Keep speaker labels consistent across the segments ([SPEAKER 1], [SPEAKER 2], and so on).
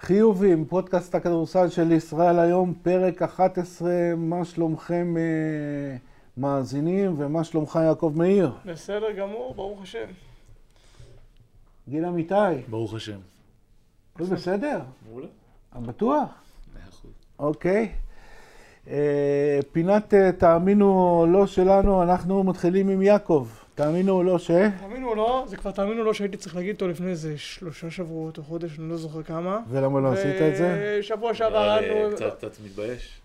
[SPEAKER 1] חיובים, פודקאסט הכדורסל של ישראל היום, פרק 11, מה שלומכם אה, מאזינים ומה שלומך יעקב מאיר?
[SPEAKER 2] בסדר גמור, ברוך השם.
[SPEAKER 1] גיל אמיתי,
[SPEAKER 3] ברוך השם.
[SPEAKER 1] הכל בסדר? אה,
[SPEAKER 3] מעולה.
[SPEAKER 1] בטוח?
[SPEAKER 3] מאה אחוז.
[SPEAKER 1] אוקיי. אה, פינת אה, תאמינו או לא שלנו, אנחנו מתחילים עם יעקב. תאמינו או לא ש...
[SPEAKER 2] תאמינו או לא, זה כבר תאמינו או לא שהייתי צריך להגיד אותו לפני איזה שלושה שבועות או חודש, אני לא זוכר כמה.
[SPEAKER 1] ולמה לא עשית את זה?
[SPEAKER 2] שבוע שעבר
[SPEAKER 3] נראה לי
[SPEAKER 2] אנו...
[SPEAKER 3] אה, קצת קצת מתבייש.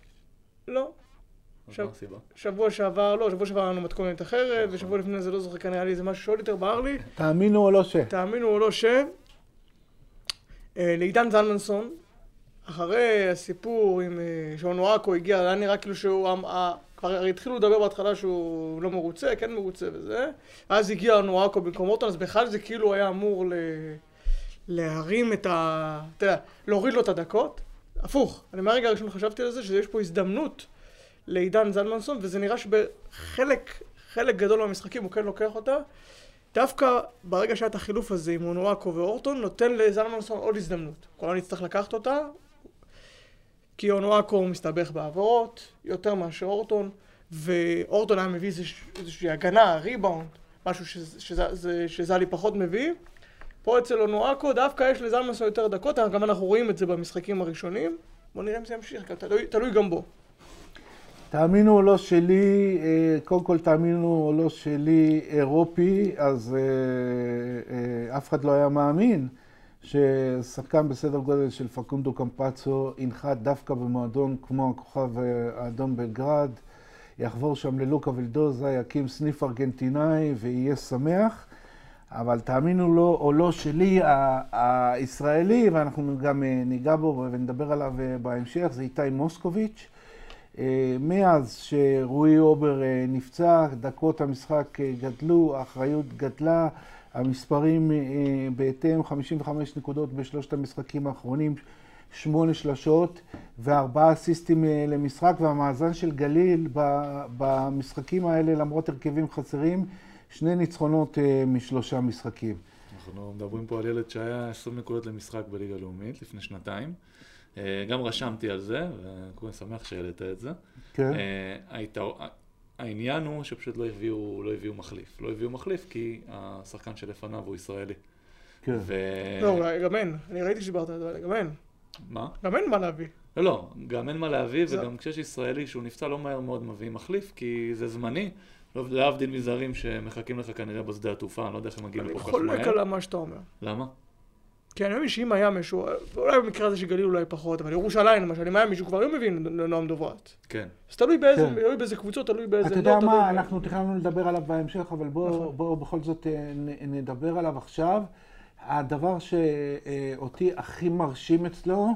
[SPEAKER 2] לא.
[SPEAKER 3] אז
[SPEAKER 2] עכשיו-
[SPEAKER 3] מה הסיבה?
[SPEAKER 2] שבוע שעבר, לא, שבוע שעבר היה לנו מתכונת אחרת, ושבוע לפני זה לא זוכר, כאן היה לי איזה משהו שעוד יותר בער לי.
[SPEAKER 1] תאמינו או לא ש...
[SPEAKER 2] תאמינו או לא ש... אה, לעידן זלמנסון, אחרי הסיפור עם אה, שון וואקו הגיע, היה נראה כאילו שהוא... אמ- אה, כבר הרי התחילו לדבר בהתחלה שהוא לא מרוצה, כן מרוצה וזה. אז הגיע נואקו במקום אורטון, אז בכלל זה כאילו היה אמור ל... להרים את ה... אתה יודע, להוריד לו את הדקות. הפוך, אני מהרגע הראשון חשבתי על זה שיש פה הזדמנות לעידן זלמנסון, וזה נראה שבחלק, חלק גדול מהמשחקים הוא כן לוקח אותה. דווקא ברגע שהיה את החילוף הזה עם אונואקו ואורטון, נותן לזלמנסון עוד הזדמנות. כולנו נצטרך לקחת אותה, כי אונואקו מסתבך בעבירות, יותר מאשר אורטון, ואורטון היה מביא איזוש- איזושהי הגנה, ריבאונד, משהו שזה- שזה- זה- שזלי פחות מביא. פה אצל אונואקו דווקא יש לזלמנסון יותר דקות, גם אנחנו רואים את זה במשחקים הראשונים. בוא נראה אם זה ימשיך, גם תלוי, תלוי גם בו.
[SPEAKER 1] תאמינו או לא שלי, אה, קודם כל תאמינו או לא שלי אירופי, אז אה, אה, אף אחד לא היה מאמין ששחקן בסדר גודל של פקונדו קמפצו ינחת דווקא במועדון כמו הכוכב אה, האדום בלגרד, יחבור שם ללוקה ולדוזה, יקים סניף ארגנטינאי ויהיה שמח. אבל תאמינו לו או לא שלי, ה- הישראלי, ואנחנו גם אה, ניגע בו ונדבר עליו אה, בהמשך, זה איתי מוסקוביץ'. אה, מאז שרועי אובר אה, נפצע, דקות המשחק אה, גדלו, האחריות גדלה, המספרים אה, בהתאם, 55 נקודות בשלושת המשחקים האחרונים, שמונה שלשות וארבעה אסיסטים אה, למשחק, והמאזן של גליל ב- במשחקים האלה, למרות הרכבים חסרים, שני ניצחונות אה, משלושה משחקים.
[SPEAKER 3] אנחנו מדברים פה על ילד שהיה 20 נקודות למשחק בליגה הלאומית לפני שנתיים. אה, גם רשמתי על זה, וכמובן שמח שהעלית את זה.
[SPEAKER 1] כן.
[SPEAKER 3] אה, הייתה- העניין הוא שפשוט לא הביאו, לא הביאו מחליף. לא הביאו מחליף כי השחקן שלפניו הוא ישראלי.
[SPEAKER 1] כן.
[SPEAKER 3] ו...
[SPEAKER 2] לא, אולי גם אין. אני ראיתי שדיברת על זה, גם אין.
[SPEAKER 3] מה?
[SPEAKER 2] גם אין מה להביא.
[SPEAKER 3] לא, לא, גם אין מה להביא,
[SPEAKER 2] זה-
[SPEAKER 3] וגם כשיש ישראלי שהוא נפצע לא מהר מאוד מביאים מחליף, כי זה זמני. לא- להבדיל מזרים שמחכים לך כנראה בשדה התעופה, אני לא יודע איך הם מגיעים
[SPEAKER 2] אני
[SPEAKER 3] כל כך מהר.
[SPEAKER 2] חולק על מה שאתה אומר.
[SPEAKER 3] למה?
[SPEAKER 2] כי כן, אני מאמין שאם היה מישהו, אולי במקרה הזה שגליל אולי פחות, אבל ירושלים למשל, אם היה מישהו כבר היו מביאים לנועם דוברת.
[SPEAKER 3] כן.
[SPEAKER 2] אז תלוי באיזה,
[SPEAKER 1] כן.
[SPEAKER 2] תלוי באיזה קבוצות, תלוי באיזה...
[SPEAKER 1] אתה
[SPEAKER 2] לא,
[SPEAKER 1] יודע
[SPEAKER 2] תלוי
[SPEAKER 1] מה,
[SPEAKER 2] באיזה.
[SPEAKER 1] אנחנו תכננו לדבר עליו בהמשך, אבל בואו
[SPEAKER 2] נכון.
[SPEAKER 1] בוא, בכל זאת אה, נ- נדבר עליו עכשיו. הדבר שאותי הכי מרשים אצלו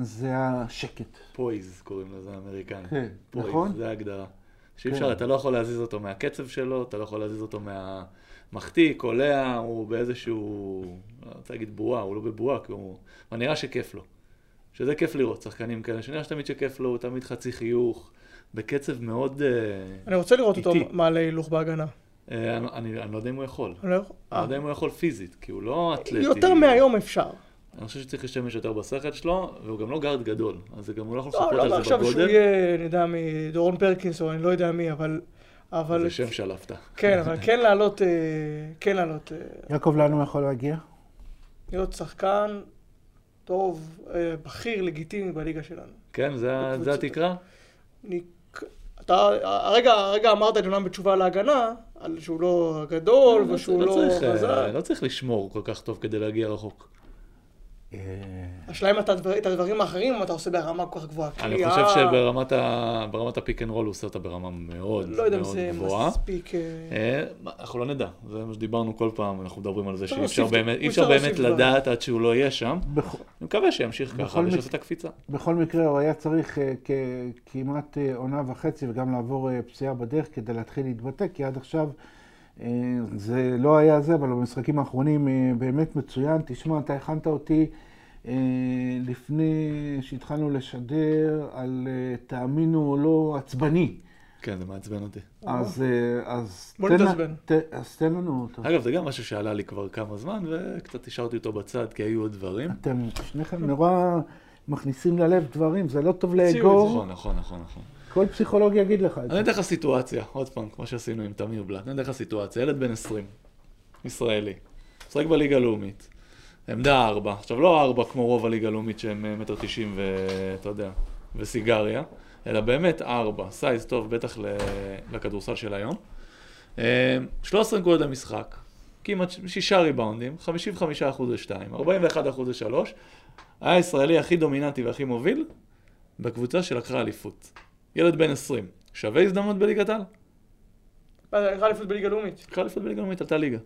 [SPEAKER 1] זה השקט.
[SPEAKER 3] פויז קוראים לזה האמריקאים.
[SPEAKER 1] כן,
[SPEAKER 3] פויז,
[SPEAKER 1] נכון?
[SPEAKER 3] זה ההגדרה. שאי
[SPEAKER 1] כן.
[SPEAKER 3] אפשר, אתה לא יכול להזיז אותו מהקצב שלו, אתה לא יכול להזיז אותו מהמחטיא, קולע, הוא באיזשהו, אני רוצה להגיד בועה, הוא לא בבועה, כי הוא... אבל נראה שכיף לו. שזה כיף לראות שחקנים כאלה, שנראה שתמיד שכיף לו, הוא תמיד חצי חיוך, בקצב מאוד... אה,
[SPEAKER 2] אני רוצה לראות אותו
[SPEAKER 3] איטי.
[SPEAKER 2] מעלה הילוך בהגנה.
[SPEAKER 3] אה, אני- אני אני לא יודע אם הוא יכול. אני
[SPEAKER 2] אני לא יכול-
[SPEAKER 3] לא יודע אם הוא יכול פיזית, כי הוא לא אתלטי.
[SPEAKER 2] יותר מהיום אפשר. לא,
[SPEAKER 3] אני חושב שצריך להשתמש יותר בשכל שלו, והוא גם לא גארד גדול, אז זה גם הוא לא יכול
[SPEAKER 2] לא,
[SPEAKER 3] לחכות
[SPEAKER 2] לא
[SPEAKER 3] על זה
[SPEAKER 2] מעכשיו שהוא
[SPEAKER 3] בגודל.
[SPEAKER 2] יהיה, אני יודע, מדורון פרקינס או אני לא יודע מי, אבל... אבל...
[SPEAKER 3] זה שם שלפת.
[SPEAKER 2] כן, אבל כן לעלות, אה, כן לעלות, אה,
[SPEAKER 1] יעקב, לאן הוא יכול להגיע?
[SPEAKER 2] להיות שחקן טוב, אה, בכיר, לגיטימי בליגה שלנו.
[SPEAKER 3] כן, זה ה- זה
[SPEAKER 2] בקבוצות.
[SPEAKER 3] התקרה?
[SPEAKER 2] אני... אתה הרגע, הרגע אמרת את זה אומנם בתשובה על ההגנה, על שהוא לא גדול ושהוא לא
[SPEAKER 3] צריך, אה,
[SPEAKER 2] חזק.
[SPEAKER 3] לא צריך לשמור כל כך טוב כדי להגיע רחוק.
[SPEAKER 1] אה,
[SPEAKER 2] השאלה אם אתה הדבר- את הדברים האחרים אתה עושה ברמה כל כך גבוהה.
[SPEAKER 3] אני
[SPEAKER 2] קריאה,
[SPEAKER 3] חושב שברמת ה- ברמת הפיק אנד רול הוא עושה אותה ברמה מאוד
[SPEAKER 2] לא יודע אם
[SPEAKER 3] מאוד
[SPEAKER 2] זה
[SPEAKER 3] גבוהה.
[SPEAKER 2] מספיק... אה,
[SPEAKER 3] אה, מה, אנחנו לא נדע, זה מה שדיברנו כל פעם, אנחנו מדברים על זה
[SPEAKER 2] אפשר
[SPEAKER 3] שאי אפשר
[SPEAKER 2] להוסיף-
[SPEAKER 3] באמת- אי
[SPEAKER 2] אפשר
[SPEAKER 3] אפשר באמת
[SPEAKER 2] להוסיף דברים.
[SPEAKER 3] לדעת עד שהוא לא יהיה שם.
[SPEAKER 1] בכ-
[SPEAKER 3] אני מקווה שימשיך ככה
[SPEAKER 1] מקרה-
[SPEAKER 3] ושיעשה את הקפיצה.
[SPEAKER 1] בכל מקרה, הוא היה צריך אה, כ- כמעט אה, עונה וחצי וגם לעבור אה, פציעה בדרך כדי להתחיל להתבטא, כי עד עכשיו אה, זה לא היה זה, אבל במשחקים האחרונים אה, באמת מצוין. תשמע, אתה הכנת אותי אה, לפני שהתחלנו לשדר על אה, תאמינו או לא עצבני.
[SPEAKER 3] כן, זה מעצבן אותי.
[SPEAKER 1] אז, אה, אז,
[SPEAKER 2] בוא
[SPEAKER 1] תן לה-
[SPEAKER 2] נתעצבן.
[SPEAKER 1] ת- אז תן לנו אותו.
[SPEAKER 3] אגב, זה גם משהו שעלה לי כבר כמה זמן, וקצת השארתי אותו בצד, כי היו עוד דברים.
[SPEAKER 1] אתם שניכם נורא מכניסים ללב דברים, זה לא טוב
[SPEAKER 2] הוציאו את
[SPEAKER 1] לאגור.
[SPEAKER 3] נכון, נכון, נכון, נכון.
[SPEAKER 1] כל פסיכולוג יגיד לך את
[SPEAKER 3] אני
[SPEAKER 1] זה.
[SPEAKER 3] אתן לך סיטואציה, עוד פעם, כמו שעשינו עם תמיר בלאט, אני אתן לך סיטואציה, ילד בן 20, ישראלי, משחק בליגה הלאומית, עמדה 4, עכשיו לא 4 כמו רוב הליגה הלאומית שהם אה, מטר 90 ואתה יודע, וסיגריה, אלא באמת 4, סייז טוב בטח ל- לכדורסל של היום. אה, 13 נקודות למשחק, כמעט 6 ריבאונדים, 55% ל-2, 41% ל-3, היה הישראלי הכי דומיננטי והכי מוביל בקבוצה שלקחה אליפות. ילד בן 20, שווה הזדמנות בליגת העל?
[SPEAKER 2] אחד לפני בליגה לאומית.
[SPEAKER 3] לקחה אליפות בליגה לאומית, עלתה ליגה.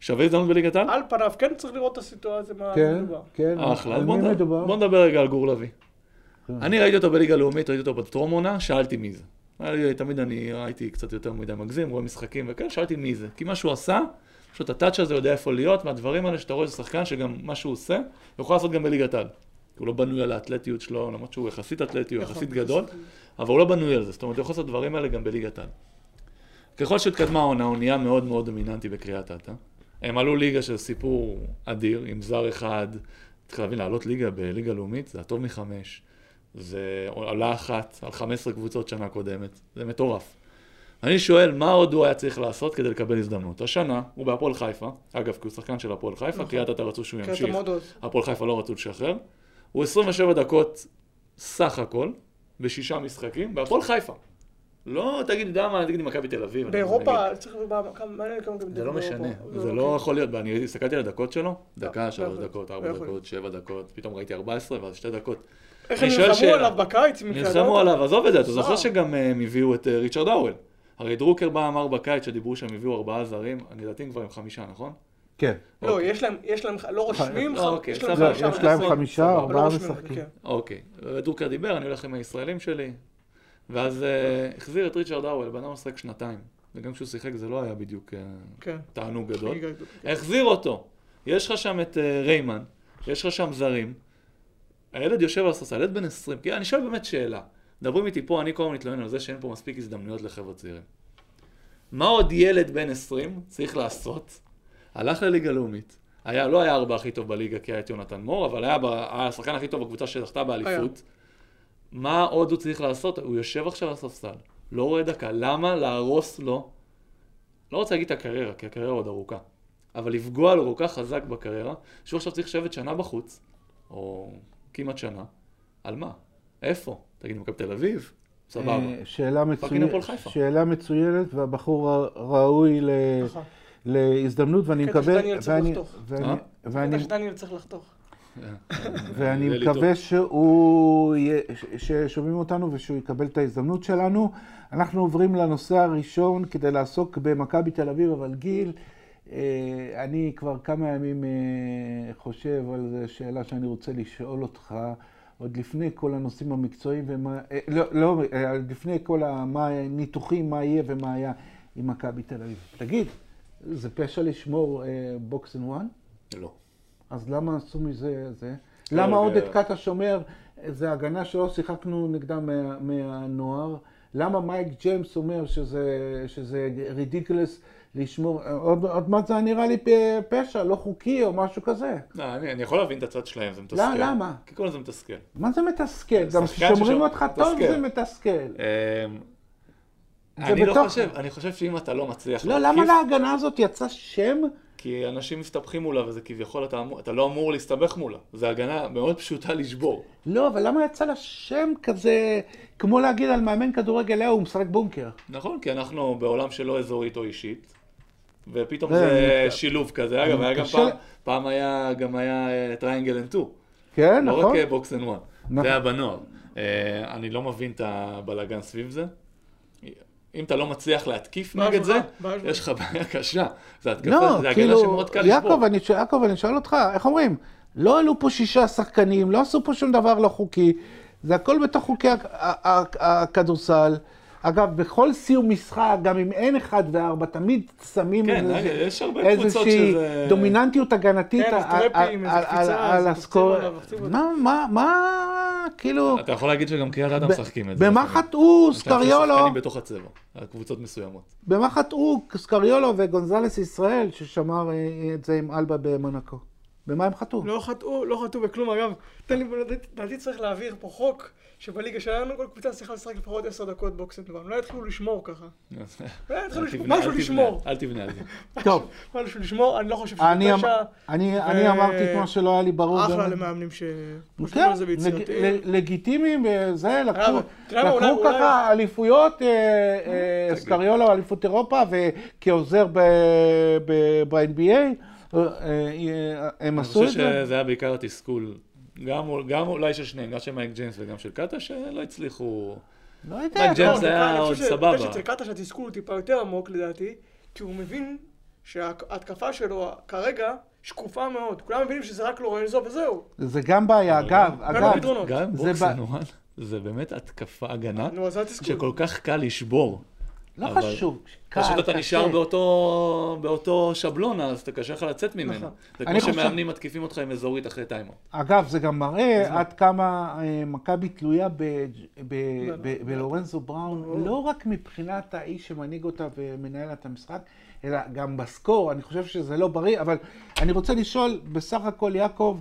[SPEAKER 3] שווה הזדמנות בליגת העל? אה,
[SPEAKER 2] על פניו כן צריך לראות את הסיטואציה, מה
[SPEAKER 1] כן,
[SPEAKER 2] מדובר.
[SPEAKER 1] כן.
[SPEAKER 3] אחלה, אז
[SPEAKER 1] על
[SPEAKER 3] בוא
[SPEAKER 1] מי
[SPEAKER 3] נד-
[SPEAKER 1] מדובר?
[SPEAKER 3] בוא נדבר רגע על גור לביא.
[SPEAKER 1] כן.
[SPEAKER 3] אני ראיתי אותו בליגה לאומית, ראיתי אותו בטרום עונה, שאלתי מי זה. היה לי- תמיד אני הייתי קצת יותר מדי מגזים, רואה משחקים וכן, שאלתי מי זה. כי מה שהוא עשה, פשוט הטאץ' הזה יודע איפה להיות, מהדברים האלה שאתה רואה שזה שחקן שגם מה שהוא עושה, הוא יכול לעשות גם בליגת העל. כי הוא לא בנוי על האתלטיות שלו, למרות שהוא יחסית אתלטי, הוא
[SPEAKER 2] נכון,
[SPEAKER 3] יחסית גדול, אבל הוא לא בנוי על זה, זאת אומרת, הוא יכול לעשות את הדברים האלה גם בליגת העל. ככל שהתקדמה העונה, הוא נהיה מאוד מאוד דומיננטי בקריית אתא. הם עלו ליגה של סיפור אדיר, עם זר אחד. צריך להבין, לעלות ליגה בליגה לאומית זה הטוב מחמש. זה עולה אחת על 15 קבוצות שנה קודמת, זה מטורף. אני שואל, מה עוד הוא היה צריך לעשות כדי לקבל הזדמנות? השנה, הוא בהפועל חיפה, אגב, כי הוא שחקן של הפועל חיפה,
[SPEAKER 2] נכון.
[SPEAKER 3] קריית אתא רצו שהוא
[SPEAKER 2] קריית
[SPEAKER 3] ימשיך,
[SPEAKER 2] המודות.
[SPEAKER 3] הפועל חיפה לא רצו לשחרר. הוא 27 דקות סך הכל, בשישה משחקים, בהפועל חיפה. לא, תגיד, יודע מה, תגיד מכבי תל אביב. אני נגיד.
[SPEAKER 2] באירופה, צריך לראות כמה, מעניין כמה גם
[SPEAKER 3] זה לא
[SPEAKER 2] באירופה.
[SPEAKER 3] משנה, זה
[SPEAKER 2] אוקיי.
[SPEAKER 3] לא יכול להיות, ואני הסתכלתי על הדקות שלו, דקה,
[SPEAKER 2] לא
[SPEAKER 3] שלוש
[SPEAKER 2] יכול.
[SPEAKER 3] דקות,
[SPEAKER 2] לא
[SPEAKER 3] ארבע
[SPEAKER 2] יכול.
[SPEAKER 3] דקות, שבע דקות, פתאום ראיתי 14 ואז שתי דקות.
[SPEAKER 2] איך הם
[SPEAKER 3] אני שואל
[SPEAKER 2] נלחמו
[SPEAKER 3] שאלה.
[SPEAKER 2] עליו בקיץ? עם מקלדות?
[SPEAKER 3] נלחמו עליו, עזוב את זה, אתה זוכר
[SPEAKER 2] אה.
[SPEAKER 3] שגם אה, הם הביאו את אה, ריצ'רד האוול. הרי דרוקר בא אמר בקיץ שדיברו שהם הביאו ארבעה זרים, אני לדעתי הם כבר עם חמישה, נכון?
[SPEAKER 1] כן.
[SPEAKER 2] לא,
[SPEAKER 3] אוקיי.
[SPEAKER 2] יש להם, יש להם, לא רושמים,
[SPEAKER 3] אה,
[SPEAKER 2] ח-
[SPEAKER 3] אוקיי,
[SPEAKER 2] יש להם
[SPEAKER 1] לא,
[SPEAKER 3] סבבה,
[SPEAKER 2] חמישה
[SPEAKER 1] יש להם
[SPEAKER 2] מנסים,
[SPEAKER 1] חמישה,
[SPEAKER 2] אבל לא
[SPEAKER 1] ארבעה
[SPEAKER 2] רושמים,
[SPEAKER 1] משחקים.
[SPEAKER 2] כן.
[SPEAKER 3] אוקיי, דרוקר דיבר, אני הולך עם הישראלים שלי, ואז אה, החזיר את ריצ'רד האוול, בן אדם משחק שנתיים, וגם כשהוא שיחק זה לא היה בדיוק אה,
[SPEAKER 2] כן.
[SPEAKER 3] תענוג גדול.
[SPEAKER 2] ליגה גדולה.
[SPEAKER 3] החזיר אותו. יש לך שם את אה, ריימן, יש לך שם זרים. הילד יושב על הספסל, ילד בן 20. כי אני שואל באמת שאלה. מדברים איתי פה, אני כל הזמן מתלונן על זה שאין פה מספיק הזדמנויות לחבר'ה צעירים. מה עוד ילד בן 20 צריך לעשות? הלך לליגה לאומית. היה, לא היה הארבע הכי טוב בליגה כי היה את יונתן מור, אבל היה, ב- היה השחקן הכי טוב בקבוצה שזכתה באליפות. מה עוד הוא צריך לעשות? הוא יושב עכשיו על הספסל, לא רואה דקה. למה להרוס לו? לא רוצה להגיד את הקריירה, כי הקריירה עוד ארוכה. אבל לפגוע לו כל כך חזק בקריירה, שהוא עכשיו צריך לשבת שנה בחוץ, או כמעט שנה, על מה? איפה? תגיד, מכבי תל אביב? סבבה.
[SPEAKER 1] אה, שאלה,
[SPEAKER 3] פאקינג
[SPEAKER 1] מצוינת,
[SPEAKER 3] הפועל חיפה.
[SPEAKER 1] שאלה מצוינת, והבחור ה- ראוי ל...
[SPEAKER 2] נכון.
[SPEAKER 1] להזדמנות, ואני
[SPEAKER 2] קטע
[SPEAKER 1] מקווה...
[SPEAKER 2] שדניאל צריך
[SPEAKER 1] ואני-
[SPEAKER 2] לחתוך.
[SPEAKER 1] ואני-
[SPEAKER 3] אה?
[SPEAKER 1] ואני-
[SPEAKER 2] בטח שדניאל צריך לחתוך.
[SPEAKER 1] ואני
[SPEAKER 3] כן, יהיה לי
[SPEAKER 1] מקווה שהוא... יהיה- ש- ששומעים אותנו ושהוא יקבל את ההזדמנות שלנו. אנחנו עוברים לנושא הראשון כדי לעסוק במכבי תל אביב, אבל גיל, אה, אני כבר כמה ימים אה, חושב על זה, שאלה שאני רוצה לשאול אותך. עוד לפני כל הנושאים המקצועיים ומה, אה, לא, לא, אה, לפני כל הניתוחים, מה יהיה ומה היה עם מכבי תל אביב. תגיד, זה פשע לשמור אה, בוקס אנד וואן?
[SPEAKER 3] לא.
[SPEAKER 1] אז למה עשו מזה זה?
[SPEAKER 3] לא
[SPEAKER 1] למה עוד
[SPEAKER 3] יודע.
[SPEAKER 1] את קאט השומר, זה הגנה שלא שיחקנו נגדה מה, מהנוער? למה מייק ג'יימס אומר שזה, שזה רידיקלס לשמור, עוד, עוד מעט זה היה נראה לי פ- פשע, לא חוקי או משהו כזה.
[SPEAKER 3] לא, אני, אני יכול להבין את הצד שלהם, זה מתסכל.
[SPEAKER 1] לא, למה?
[SPEAKER 3] כי כל הזמן זה מתסכל.
[SPEAKER 1] מה זה מתסכל? גם
[SPEAKER 3] שחקן
[SPEAKER 1] כששומרים
[SPEAKER 3] ששומר-
[SPEAKER 1] אותך טוב
[SPEAKER 3] מתסכל.
[SPEAKER 1] זה מתסכל.
[SPEAKER 3] אמ,
[SPEAKER 1] זה
[SPEAKER 3] אני
[SPEAKER 1] בתוך-
[SPEAKER 3] לא חושב, אני חושב שאם אתה לא מצליח
[SPEAKER 1] לא,
[SPEAKER 3] להתקיף,
[SPEAKER 1] למה להגנה הזאת יצא שם?
[SPEAKER 3] כי אנשים מסתבכים מולה, וזה כביכול, אתה, אמור, אתה לא אמור להסתבך מולה. זו הגנה מאוד פשוטה לשבור.
[SPEAKER 1] לא, אבל למה יצא לה שם כזה, כמו להגיד על מאמן כדורגל, "אה, הוא משחק בונקר.
[SPEAKER 3] נכון, כי אנחנו בעולם שלא אזורית או אישית, ופתאום
[SPEAKER 1] זה,
[SPEAKER 3] זה
[SPEAKER 1] לא, אני-
[SPEAKER 3] שילוב כזה. אגב, היה גם
[SPEAKER 1] קשה-
[SPEAKER 3] פעם, פעם היה, גם היה אה, טריינגל אנד טו.
[SPEAKER 1] כן,
[SPEAKER 3] לא
[SPEAKER 1] נכון?
[SPEAKER 3] רק בוקס אנד וואן,
[SPEAKER 1] נכון.
[SPEAKER 3] זה היה בנוער. אה, אני לא מבין את הבלאגן סביב זה. אם אתה לא מצליח להתקיף
[SPEAKER 2] בעיה
[SPEAKER 3] נגד זה,
[SPEAKER 2] שלך, בעיה שלך.
[SPEAKER 3] יש לך בעיה קשה. זה התקפה,
[SPEAKER 1] לא,
[SPEAKER 3] זה הגנה
[SPEAKER 1] כאילו,
[SPEAKER 3] שמאוד קל לשבור.
[SPEAKER 1] יעקב, אני, ש- יעקב, אני שואל אותך, איך אומרים? לא עלו פה שישה שחקנים, לא עשו פה שום דבר לא חוקי, זה הכל בתוך חוקי הכ- ה- ה- הכדורסל. אגב, בכל סיום משחק, גם אם אין אחד וארבע, תמיד שמים
[SPEAKER 3] כן,
[SPEAKER 1] איזה-
[SPEAKER 3] יש הרבה קבוצות
[SPEAKER 1] איזושהי
[SPEAKER 3] שזה-
[SPEAKER 1] דומיננטיות הגנתית
[SPEAKER 2] כן,
[SPEAKER 1] על-
[SPEAKER 2] סטרפים,
[SPEAKER 1] על-
[SPEAKER 2] איזה
[SPEAKER 1] על-
[SPEAKER 2] קפיצה,
[SPEAKER 1] על
[SPEAKER 2] זה
[SPEAKER 1] הסקור.
[SPEAKER 2] קופצים עליו, קופצים
[SPEAKER 1] מה, מה, מה כאילו,
[SPEAKER 3] אתה יכול להגיד שגם קריית אדם
[SPEAKER 1] ב-
[SPEAKER 3] משחקים את זה.
[SPEAKER 1] במה
[SPEAKER 3] לפעמים.
[SPEAKER 1] חטאו
[SPEAKER 3] אתה יכול
[SPEAKER 1] סקריולו,
[SPEAKER 3] שחקנים בתוך הצבע, על קבוצות מסוימות.
[SPEAKER 1] במה חטאו סקריולו וגונזלס ישראל, ששמר אה, את זה עם אלבה במונקו? במה הם חטאו?
[SPEAKER 2] לא חטאו, לא חטאו בכלום. אגב, תן לי, לדעתי צריך להעביר פה חוק שבליגה שלנו כל קבוצה צריכה לשחק לפחות עשר דקות בוקסנד וואן. אולי לא יתחילו לשמור ככה. אולי יתחילו
[SPEAKER 3] אל
[SPEAKER 2] לשמור,
[SPEAKER 3] תבנה-
[SPEAKER 2] משהו
[SPEAKER 3] אל תבנה-
[SPEAKER 2] לשמור.
[SPEAKER 3] אל תבנה על זה.
[SPEAKER 1] טוב,
[SPEAKER 2] משהו לשמור, אני לא חושב שזה
[SPEAKER 1] אני אמ-
[SPEAKER 2] פשע.
[SPEAKER 1] אני-
[SPEAKER 2] ו-
[SPEAKER 1] אני אמרתי את מה שלא היה לי ברור.
[SPEAKER 2] אחלה
[SPEAKER 1] גם-
[SPEAKER 2] למאמנים ש... חושבים
[SPEAKER 1] כן,
[SPEAKER 2] על זה
[SPEAKER 1] לג-
[SPEAKER 2] ביצירתיות.
[SPEAKER 1] ל- לגיטימיים, אה, זה, לקחו
[SPEAKER 2] אתה יודע מה, אולי-
[SPEAKER 1] לקחו
[SPEAKER 2] אולי-
[SPEAKER 1] ככה אליפויות, אה, אה, סקריולו, אליפות אירופה, וכעוזר ב- ב- ב-NBA, אה, אה, הם
[SPEAKER 3] אני
[SPEAKER 1] עשו
[SPEAKER 3] חושב
[SPEAKER 1] את זה.
[SPEAKER 3] שזה היה בעיקר התסכול, גם אול- גם אולי של שניהם, גם של מייק ג'יימס וגם של קאטה, שלא הצליחו.
[SPEAKER 1] לא יודע.
[SPEAKER 3] מייק ג'יימס
[SPEAKER 2] לא,
[SPEAKER 3] היה
[SPEAKER 2] אני חושב
[SPEAKER 3] עוד
[SPEAKER 2] ש- אני
[SPEAKER 3] סבבה.
[SPEAKER 2] חושב שאצל קטש התסכול הוא טיפה יותר עמוק לדעתי, כי הוא מבין שההתקפה שלו כרגע שקופה מאוד. כולם מבינים שזה רק לורנזו וזהו.
[SPEAKER 1] זה גם בעיה, אגב,
[SPEAKER 3] גם-
[SPEAKER 1] אגב,
[SPEAKER 2] פתרונות.
[SPEAKER 3] גם עם
[SPEAKER 1] זה
[SPEAKER 3] בוקסן
[SPEAKER 1] ב-
[SPEAKER 3] וואן, זה באמת התקפה, הגנה,
[SPEAKER 2] נו, אז אל תסכול.
[SPEAKER 3] שכל כך קל לשבור.
[SPEAKER 1] לא
[SPEAKER 3] אבל-
[SPEAKER 1] חשוב, קל,
[SPEAKER 3] פשוט אתה
[SPEAKER 1] קשה.
[SPEAKER 3] נשאר באותו, באותו שבלונה, אז אתה קשה לך לצאת ממנה.
[SPEAKER 2] נכון.
[SPEAKER 3] זה
[SPEAKER 1] אני
[SPEAKER 3] כמו
[SPEAKER 1] חושב-
[SPEAKER 3] שמאמנים מתקיפים אותך עם אזורית אחרי טיימר.
[SPEAKER 1] אגב, זה גם מראה עד כמה אה, מכבי תלויה ב- ב-
[SPEAKER 2] לא,
[SPEAKER 1] ב- בלורנזו בראון, לא רק מבחינת האיש שמנהיג אותה ומנהל את המשחק, אלא גם בסקור, אני חושב שזה לא בריא, אבל אני רוצה לשאול, בסך הכל, יעקב,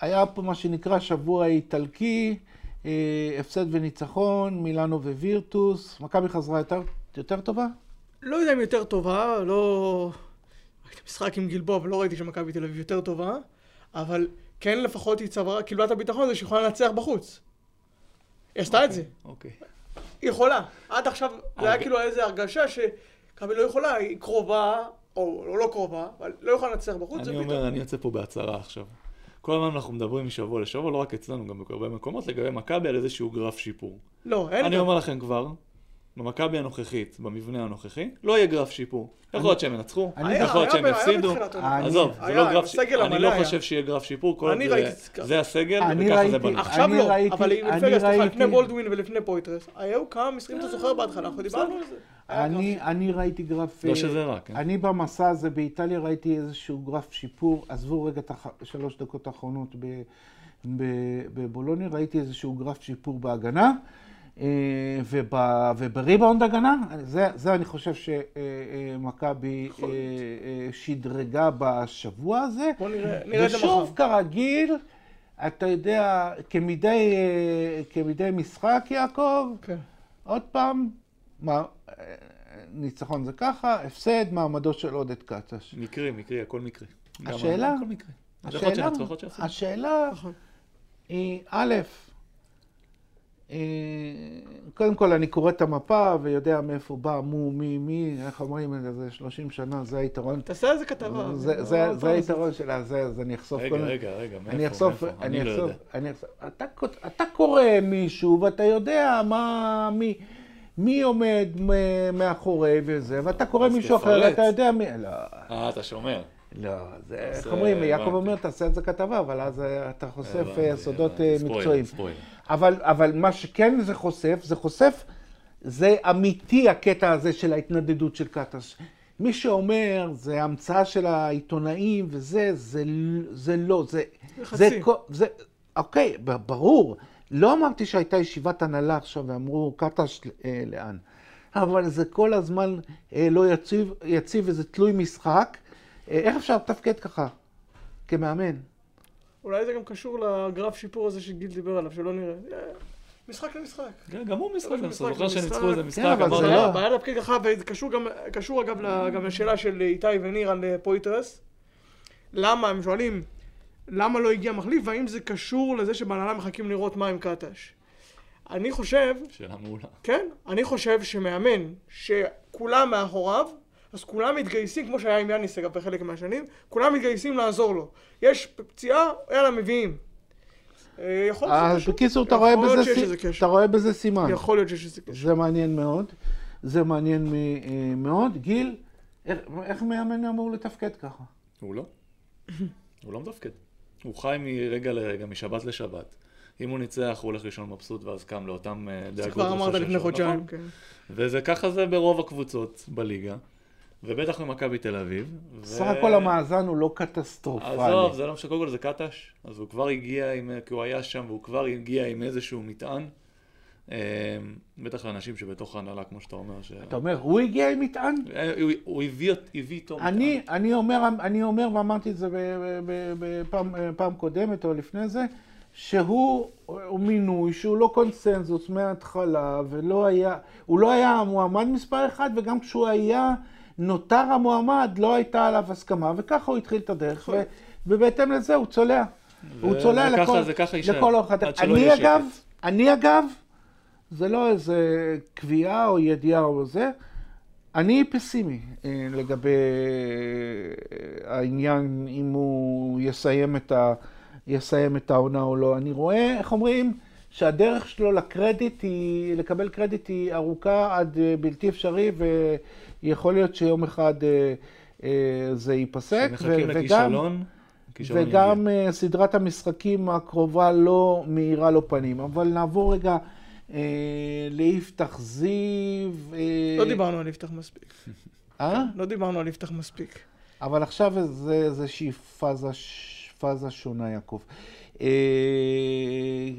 [SPEAKER 1] היה פה מה שנקרא שבוע איטלקי, אה, הפסד וניצחון, מילאנו ווירטוס, מכבי חזרה יותר- יותר טובה?
[SPEAKER 2] לא יודע אם יותר טובה, לא... ראיתי משחק עם גלבוע ולא ראיתי שמכבי תל אביב יותר טובה, אבל כן לפחות היא צברה, קיבלה את הביטחון הזה שהיא יכולה לנצח בחוץ. היא עשתה את זה,
[SPEAKER 3] אוקיי. אה,
[SPEAKER 2] היא יכולה. עד עכשיו זה היה
[SPEAKER 3] אבל-
[SPEAKER 2] כאילו איזו הרגשה שמכבי לא יכולה, היא קרובה, או או לא קרובה, אבל לא יכולה לנצח בחוץ, זה
[SPEAKER 3] אני
[SPEAKER 2] פתאום.
[SPEAKER 3] אומר, אני יוצא פה בהצהרה עכשיו. כל הזמן אנחנו מדברים משבוע לשבוע, לא רק אצלנו, גם בהרבה מקומות, לגבי מכבי על איזשהו גרף שיפור.
[SPEAKER 2] לא, אין
[SPEAKER 3] אני
[SPEAKER 2] לי...
[SPEAKER 3] אומר לכם כבר, במכבי הנוכחית, במבנה הנוכחי, לא יהיה גרף שיפור. יכול להיות שהם ינצחו,
[SPEAKER 1] אני-
[SPEAKER 3] יכול להיות שהם
[SPEAKER 2] היה- היה
[SPEAKER 3] יפסידו.
[SPEAKER 2] בתחילת העונה.
[SPEAKER 1] אני-
[SPEAKER 3] עזוב, זה
[SPEAKER 2] היה,
[SPEAKER 3] לא
[SPEAKER 2] עם
[SPEAKER 3] גרף
[SPEAKER 2] הסגל
[SPEAKER 3] שיפור. אני
[SPEAKER 2] המלא
[SPEAKER 3] לא
[SPEAKER 2] היה.
[SPEAKER 3] חושב שיהיה גרף שיפור, כל עוד
[SPEAKER 2] אני
[SPEAKER 3] זה-
[SPEAKER 2] ראיתי את זה ככה.
[SPEAKER 3] זה הסגל,
[SPEAKER 1] אני
[SPEAKER 3] וככה
[SPEAKER 1] ראיתי.
[SPEAKER 3] זה בנוי.
[SPEAKER 2] עכשיו
[SPEAKER 1] אני
[SPEAKER 2] לא,
[SPEAKER 1] ראיתי-
[SPEAKER 2] אבל עם
[SPEAKER 1] אני
[SPEAKER 2] רגע, סליחה,
[SPEAKER 1] ראיתי-
[SPEAKER 2] לפני בולדווין ולפני פויטרס, היו כמה משחקים, אתה זוכר בהתחלה, אנחנו דיברנו על זה. היה
[SPEAKER 1] אני, אני ראיתי גרף...
[SPEAKER 3] לא
[SPEAKER 1] אה,
[SPEAKER 3] שזה רע, כן.
[SPEAKER 1] אני במסע הזה באיטליה ראיתי איזשהו גרף שיפור, עזבו רגע את השלוש דקות האחרונות ב- ב- בבולוניה, ראיתי איזשהו גרף שיפור בהגנה. אה, וב, ובריבאונד הגנה, זה, זה אני חושב אה, שמכבי
[SPEAKER 2] יכול להיות.
[SPEAKER 1] אה, שדרגה בשבוע הזה.
[SPEAKER 2] בוא נראה- נראה את זה
[SPEAKER 1] ושוב, כרגיל, אתה יודע, כמדי, אה, כמדי משחק, יעקב,
[SPEAKER 2] כן.
[SPEAKER 1] עוד פעם, מה, אה, ניצחון זה ככה, הפסד, מעמדו של עודד קטש.
[SPEAKER 3] מקרי, מקרי, הכל מקרי. גם
[SPEAKER 1] השאלה-
[SPEAKER 3] הכל מקרי. אז יכול להיות
[SPEAKER 1] השאלה,
[SPEAKER 3] שינצחו, יכול להיות שיפסידו.
[SPEAKER 1] השאלה
[SPEAKER 2] נכון.
[SPEAKER 1] היא, א', אה, קודם כל אני קורא את המפה ויודע מאיפה בא, מו, מי, מי, איך אומרים את זה, זה 30 שנה, זה היתרון.
[SPEAKER 2] תעשה איזה כתבה. לא-
[SPEAKER 1] זה- זה- זה היתרון שלה, זה, אז אני אחשוף כל
[SPEAKER 3] רגע,
[SPEAKER 1] מיני...
[SPEAKER 3] רגע, רגע, מאיפה?
[SPEAKER 1] אני אחשוף,
[SPEAKER 3] מאיפה?
[SPEAKER 1] אני
[SPEAKER 3] לא
[SPEAKER 1] אחשוף,
[SPEAKER 3] יודע.
[SPEAKER 1] אני אחשוף. אתה כות- אתה קורא מישהו ואתה יודע מה, מי, מי עומד מ- מאחורי וזה, ואתה קורא
[SPEAKER 3] אז
[SPEAKER 1] מישהו אחר
[SPEAKER 3] תפרט.
[SPEAKER 1] ואתה יודע מי... לא,
[SPEAKER 3] אה, אתה שומר.
[SPEAKER 1] לא, זה, איך
[SPEAKER 3] אז,
[SPEAKER 1] אומרים,
[SPEAKER 3] אה,
[SPEAKER 1] יעקב
[SPEAKER 3] הבנתי.
[SPEAKER 1] אומר, תעשה את זה כתבה, אבל אז אה, אתה חושף
[SPEAKER 3] הבנתי,
[SPEAKER 1] אה, סודות
[SPEAKER 3] הבנתי.
[SPEAKER 1] אה,
[SPEAKER 3] ספוילר,
[SPEAKER 1] מקצועיים.
[SPEAKER 3] ספוילר.
[SPEAKER 1] אבל, אבל מה שכן זה חושף, זה חושף, זה אמיתי הקטע הזה של ההתנדדות של קטש. מי שאומר, זה המצאה של העיתונאים וזה, זה, ל- זה לא, זה...
[SPEAKER 2] חצי.
[SPEAKER 1] זה, כל- זה, אוקיי, ב- ברור. לא אמרתי שהייתה ישיבת הנהלה עכשיו ואמרו, קטש אה, לאן. אבל זה כל הזמן אה, לא יציב, יציב וזה תלוי משחק. אה, איך אפשר לתפקד ככה, כמאמן?
[SPEAKER 2] אולי זה גם קשור לגרף שיפור הזה שגיל דיבר עליו, שלא נראה. אה, משחק למשחק.
[SPEAKER 3] כן, גם הוא משחק,
[SPEAKER 2] משחק,
[SPEAKER 3] אני זוכר
[SPEAKER 2] משחק.
[SPEAKER 3] שניצחו איזה משחק, "אה,
[SPEAKER 1] אבל זה
[SPEAKER 3] אמרנו,
[SPEAKER 1] לא-
[SPEAKER 2] בעיה להפקיד ככה, וזה קשור גם, קשור אגב ל- גם לשאלה של איתי וניר על אה, פויטרס. למה, הם שואלים, למה לא הגיע מחליף, והאם זה קשור לזה שבהנהלה מחכים לראות מה עם קטש. אני חושב
[SPEAKER 3] שאלה מעולה.
[SPEAKER 2] כן, אני חושב שמאמן שכולם מאחוריו, אז כולם מתגייסים, כמו שהיה עם יאניס אגב בחלק מהשנים, כולם מתגייסים לעזור לו. יש פציעה, יאללה, מביאים. אה, יכול להיות שזה
[SPEAKER 1] אז
[SPEAKER 2] קשור.
[SPEAKER 1] בקיצור, אתה
[SPEAKER 2] יכול
[SPEAKER 1] רואה
[SPEAKER 2] להיות
[SPEAKER 1] בזה
[SPEAKER 2] שיש
[SPEAKER 1] סי-
[SPEAKER 2] איזה קשר.
[SPEAKER 1] אתה רואה בזה סימן.
[SPEAKER 2] יכול להיות שיש איזה קשר.
[SPEAKER 1] זה מעניין מאוד. זה מעניין מ- אה, מאוד. גיל, איך- איך מאמן אמור לתפקד ככה?
[SPEAKER 3] הוא לא. הוא לא מתפקד. הוא חי מרגע לרגע, משבת לשבת. אם הוא ניצח, הוא הולך לישון מבסוט, ואז קם לאותם אה,
[SPEAKER 2] זה
[SPEAKER 3] דאגות.
[SPEAKER 2] כבר אמרת
[SPEAKER 3] וסופי
[SPEAKER 2] לפני
[SPEAKER 3] שבוע.
[SPEAKER 2] חודשיים,
[SPEAKER 3] נכון.
[SPEAKER 2] כן.
[SPEAKER 3] וזה ככה זה ברוב הקבוצות בליגה. ובטח ממכבי תל אביב. ו-
[SPEAKER 1] סך הכל המאזן הוא לא קטסטרופלי.
[SPEAKER 3] עזוב, זה לא משנה, קודם כל זה קטש, אז הוא כבר הגיע עם, כי הוא היה שם והוא כבר הגיע עם איזשהו מטען. אה, בטח לאנשים שבתוך ההנהלה, כמו שאתה אומר, ש...
[SPEAKER 1] אתה אומר, הוא הגיע עם מטען?
[SPEAKER 3] אה, הוא- הוא הביא אות- הביא איתו מטען.
[SPEAKER 1] אני, אני, אומר, אני אומר, ואמרתי את זה בפעם קודמת או לפני זה, שהוא הוא מינוי שהוא לא קונסנזוס מההתחלה, ולא היה, הוא לא היה המועמד מספר אחד, וגם כשהוא היה, נותר המועמד, לא הייתה עליו הסכמה, וככה הוא התחיל את הדרך, ו, ובהתאם לזה הוא צולע. הוא צולע
[SPEAKER 3] וככה-
[SPEAKER 1] לכל,
[SPEAKER 3] זה ככה יישאר,
[SPEAKER 1] לכל אורך הדרך.
[SPEAKER 3] עד שלא
[SPEAKER 1] אני
[SPEAKER 3] יהיה שקט.
[SPEAKER 1] אגב, אני אגב, זה לא איזה קביעה או ידיעה או זה, אני פסימי אה, לגבי אה, העניין אם הוא יסיים את, ה, יסיים את העונה או לא. אני רואה, איך אומרים, שהדרך שלו לקרדיט היא, לקבל קרדיט היא ארוכה עד אה, בלתי אפשרי, ויכול להיות שיום אחד אה, אה, זה ייפסק.
[SPEAKER 3] מחכים
[SPEAKER 1] ו-
[SPEAKER 3] לכישלון, הכישלון יגיע.
[SPEAKER 1] וגם אה, סדרת המשחקים הקרובה לא מאירה לו פנים. אבל נעבור רגע אה, ליפתח זיו. אה,
[SPEAKER 2] לא דיברנו על יפתח מספיק.
[SPEAKER 1] אה?
[SPEAKER 2] לא דיברנו על יפתח מספיק.
[SPEAKER 1] אבל עכשיו זה איזושהי פאזה, ש- פאזה שונה, יעקב. אה,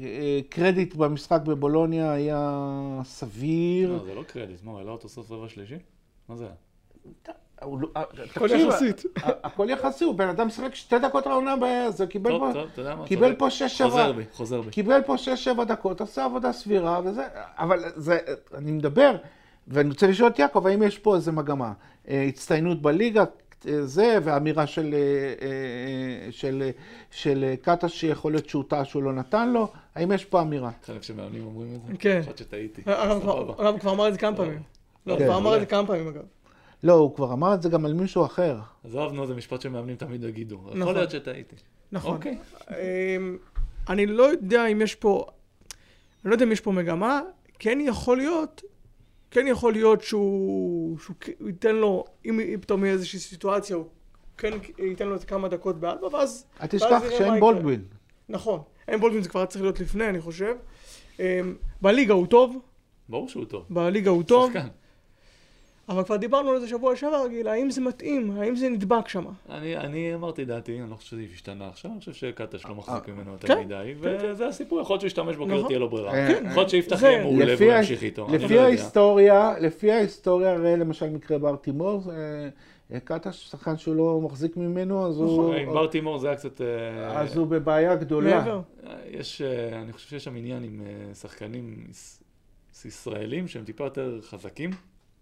[SPEAKER 1] אה, קרדיט במשחק בבולוניה היה סביר.
[SPEAKER 3] לא, זה לא קרדיט, מה, הוא העלה אותו סוף רבע שלישי? מה זה היה?
[SPEAKER 1] הוא לא- אה,
[SPEAKER 2] הכל
[SPEAKER 1] תקשיב,
[SPEAKER 2] יחסית.
[SPEAKER 1] אה, הכל יחסי, הוא בן אדם שיחק שתי דקות העונה, אז הוא קיבל פה-
[SPEAKER 3] טוב, טוב, אתה יודע מה,
[SPEAKER 1] קיבל
[SPEAKER 3] צודק.
[SPEAKER 1] פה שש
[SPEAKER 3] חוזר
[SPEAKER 1] שבע.
[SPEAKER 3] בי, חוזר בי.
[SPEAKER 1] קיבל פה 6-7 דקות, עשה עבודה סבירה וזה, אבל זה, אני מדבר, ואני רוצה לשאול את יעקב, האם יש פה איזה מגמה? אה, הצטיינות בליגה, אה, זה, ואמירה של, אה, אה, של, אה, של אה, קטש שיכול להיות שהוא טעה שהוא לא נתן לו, האם יש פה אמירה?
[SPEAKER 3] חלק שמאמנים אומרים את זה?
[SPEAKER 2] כן. נכון.
[SPEAKER 3] חשבתי שטעיתי.
[SPEAKER 2] הרב
[SPEAKER 3] סבבה. אה,
[SPEAKER 2] כבר- הרב כבר אמר את זה כמה פעמים. לא, הוא
[SPEAKER 1] כן.
[SPEAKER 2] כבר אמר את זה כמה פעמים אגב.
[SPEAKER 1] לא, הוא כבר אמר את זה גם על מישהו אחר.
[SPEAKER 3] עזוב, נו, זה משפט שמאמנים תמיד יגידו. יכול
[SPEAKER 2] נכון.
[SPEAKER 3] להיות שטעיתי.
[SPEAKER 2] נכון.
[SPEAKER 3] אוקיי.
[SPEAKER 2] אמ, אני לא יודע אם יש פה, אני לא יודע אם יש פה מגמה, כן יכול להיות, כן יכול להיות שהוא, שהוא כ- הוא ייתן לו, אם אם פתאום יהיה איזושהי סיטואציה, הוא כן ייתן לו את כמה דקות באלבה, ואז...
[SPEAKER 1] אל
[SPEAKER 2] ואז
[SPEAKER 1] תשכח
[SPEAKER 2] נראה מה
[SPEAKER 1] שאין
[SPEAKER 2] יקרה.
[SPEAKER 1] בולדווין.
[SPEAKER 2] נכון, אין בולדווין זה כבר היה צריך להיות לפני, אני חושב. אמ, בליגה הוא טוב,
[SPEAKER 3] ברור שהוא טוב.
[SPEAKER 2] בליגה הוא טוב,
[SPEAKER 3] שחקן.
[SPEAKER 2] אבל כבר דיברנו על זה שבוע שעבר, גיל, האם זה מתאים, האם זה נדבק שם.
[SPEAKER 3] אני, אני אמרתי דעתי, אני לא חושב שזה השתנה עכשיו, אני חושב שקטש לא מחזיק ממנו יותר
[SPEAKER 2] כן,
[SPEAKER 3] מדי, וזה הסיפור, יכול להיות שהוא ישתמש בו, כי לא
[SPEAKER 2] נכון.
[SPEAKER 3] תהיה לו ברירה.
[SPEAKER 1] אה,
[SPEAKER 3] יכול להיות שיפתח
[SPEAKER 2] זה-
[SPEAKER 3] יהיה מעולה והוא
[SPEAKER 1] לפי ה-
[SPEAKER 3] ימשיך איתו, אני לא
[SPEAKER 1] לפי
[SPEAKER 3] יודע.
[SPEAKER 1] ההיסטוריה, לפי ההיסטוריה, הרי למשל מקרה בר תימור, אה, אה, קטש, שחקן שהוא לא מחזיק ממנו, אז הוא...
[SPEAKER 3] נכון, אה, עם בר תימור זה היה קצת... אה,
[SPEAKER 1] אז הוא בבעיה גדולה.
[SPEAKER 2] מעבר.
[SPEAKER 3] יש, אה, אני חושב שיש שם עניין עם אה, שחקנים יס- ישראלים שהם טיפה יותר חזקים,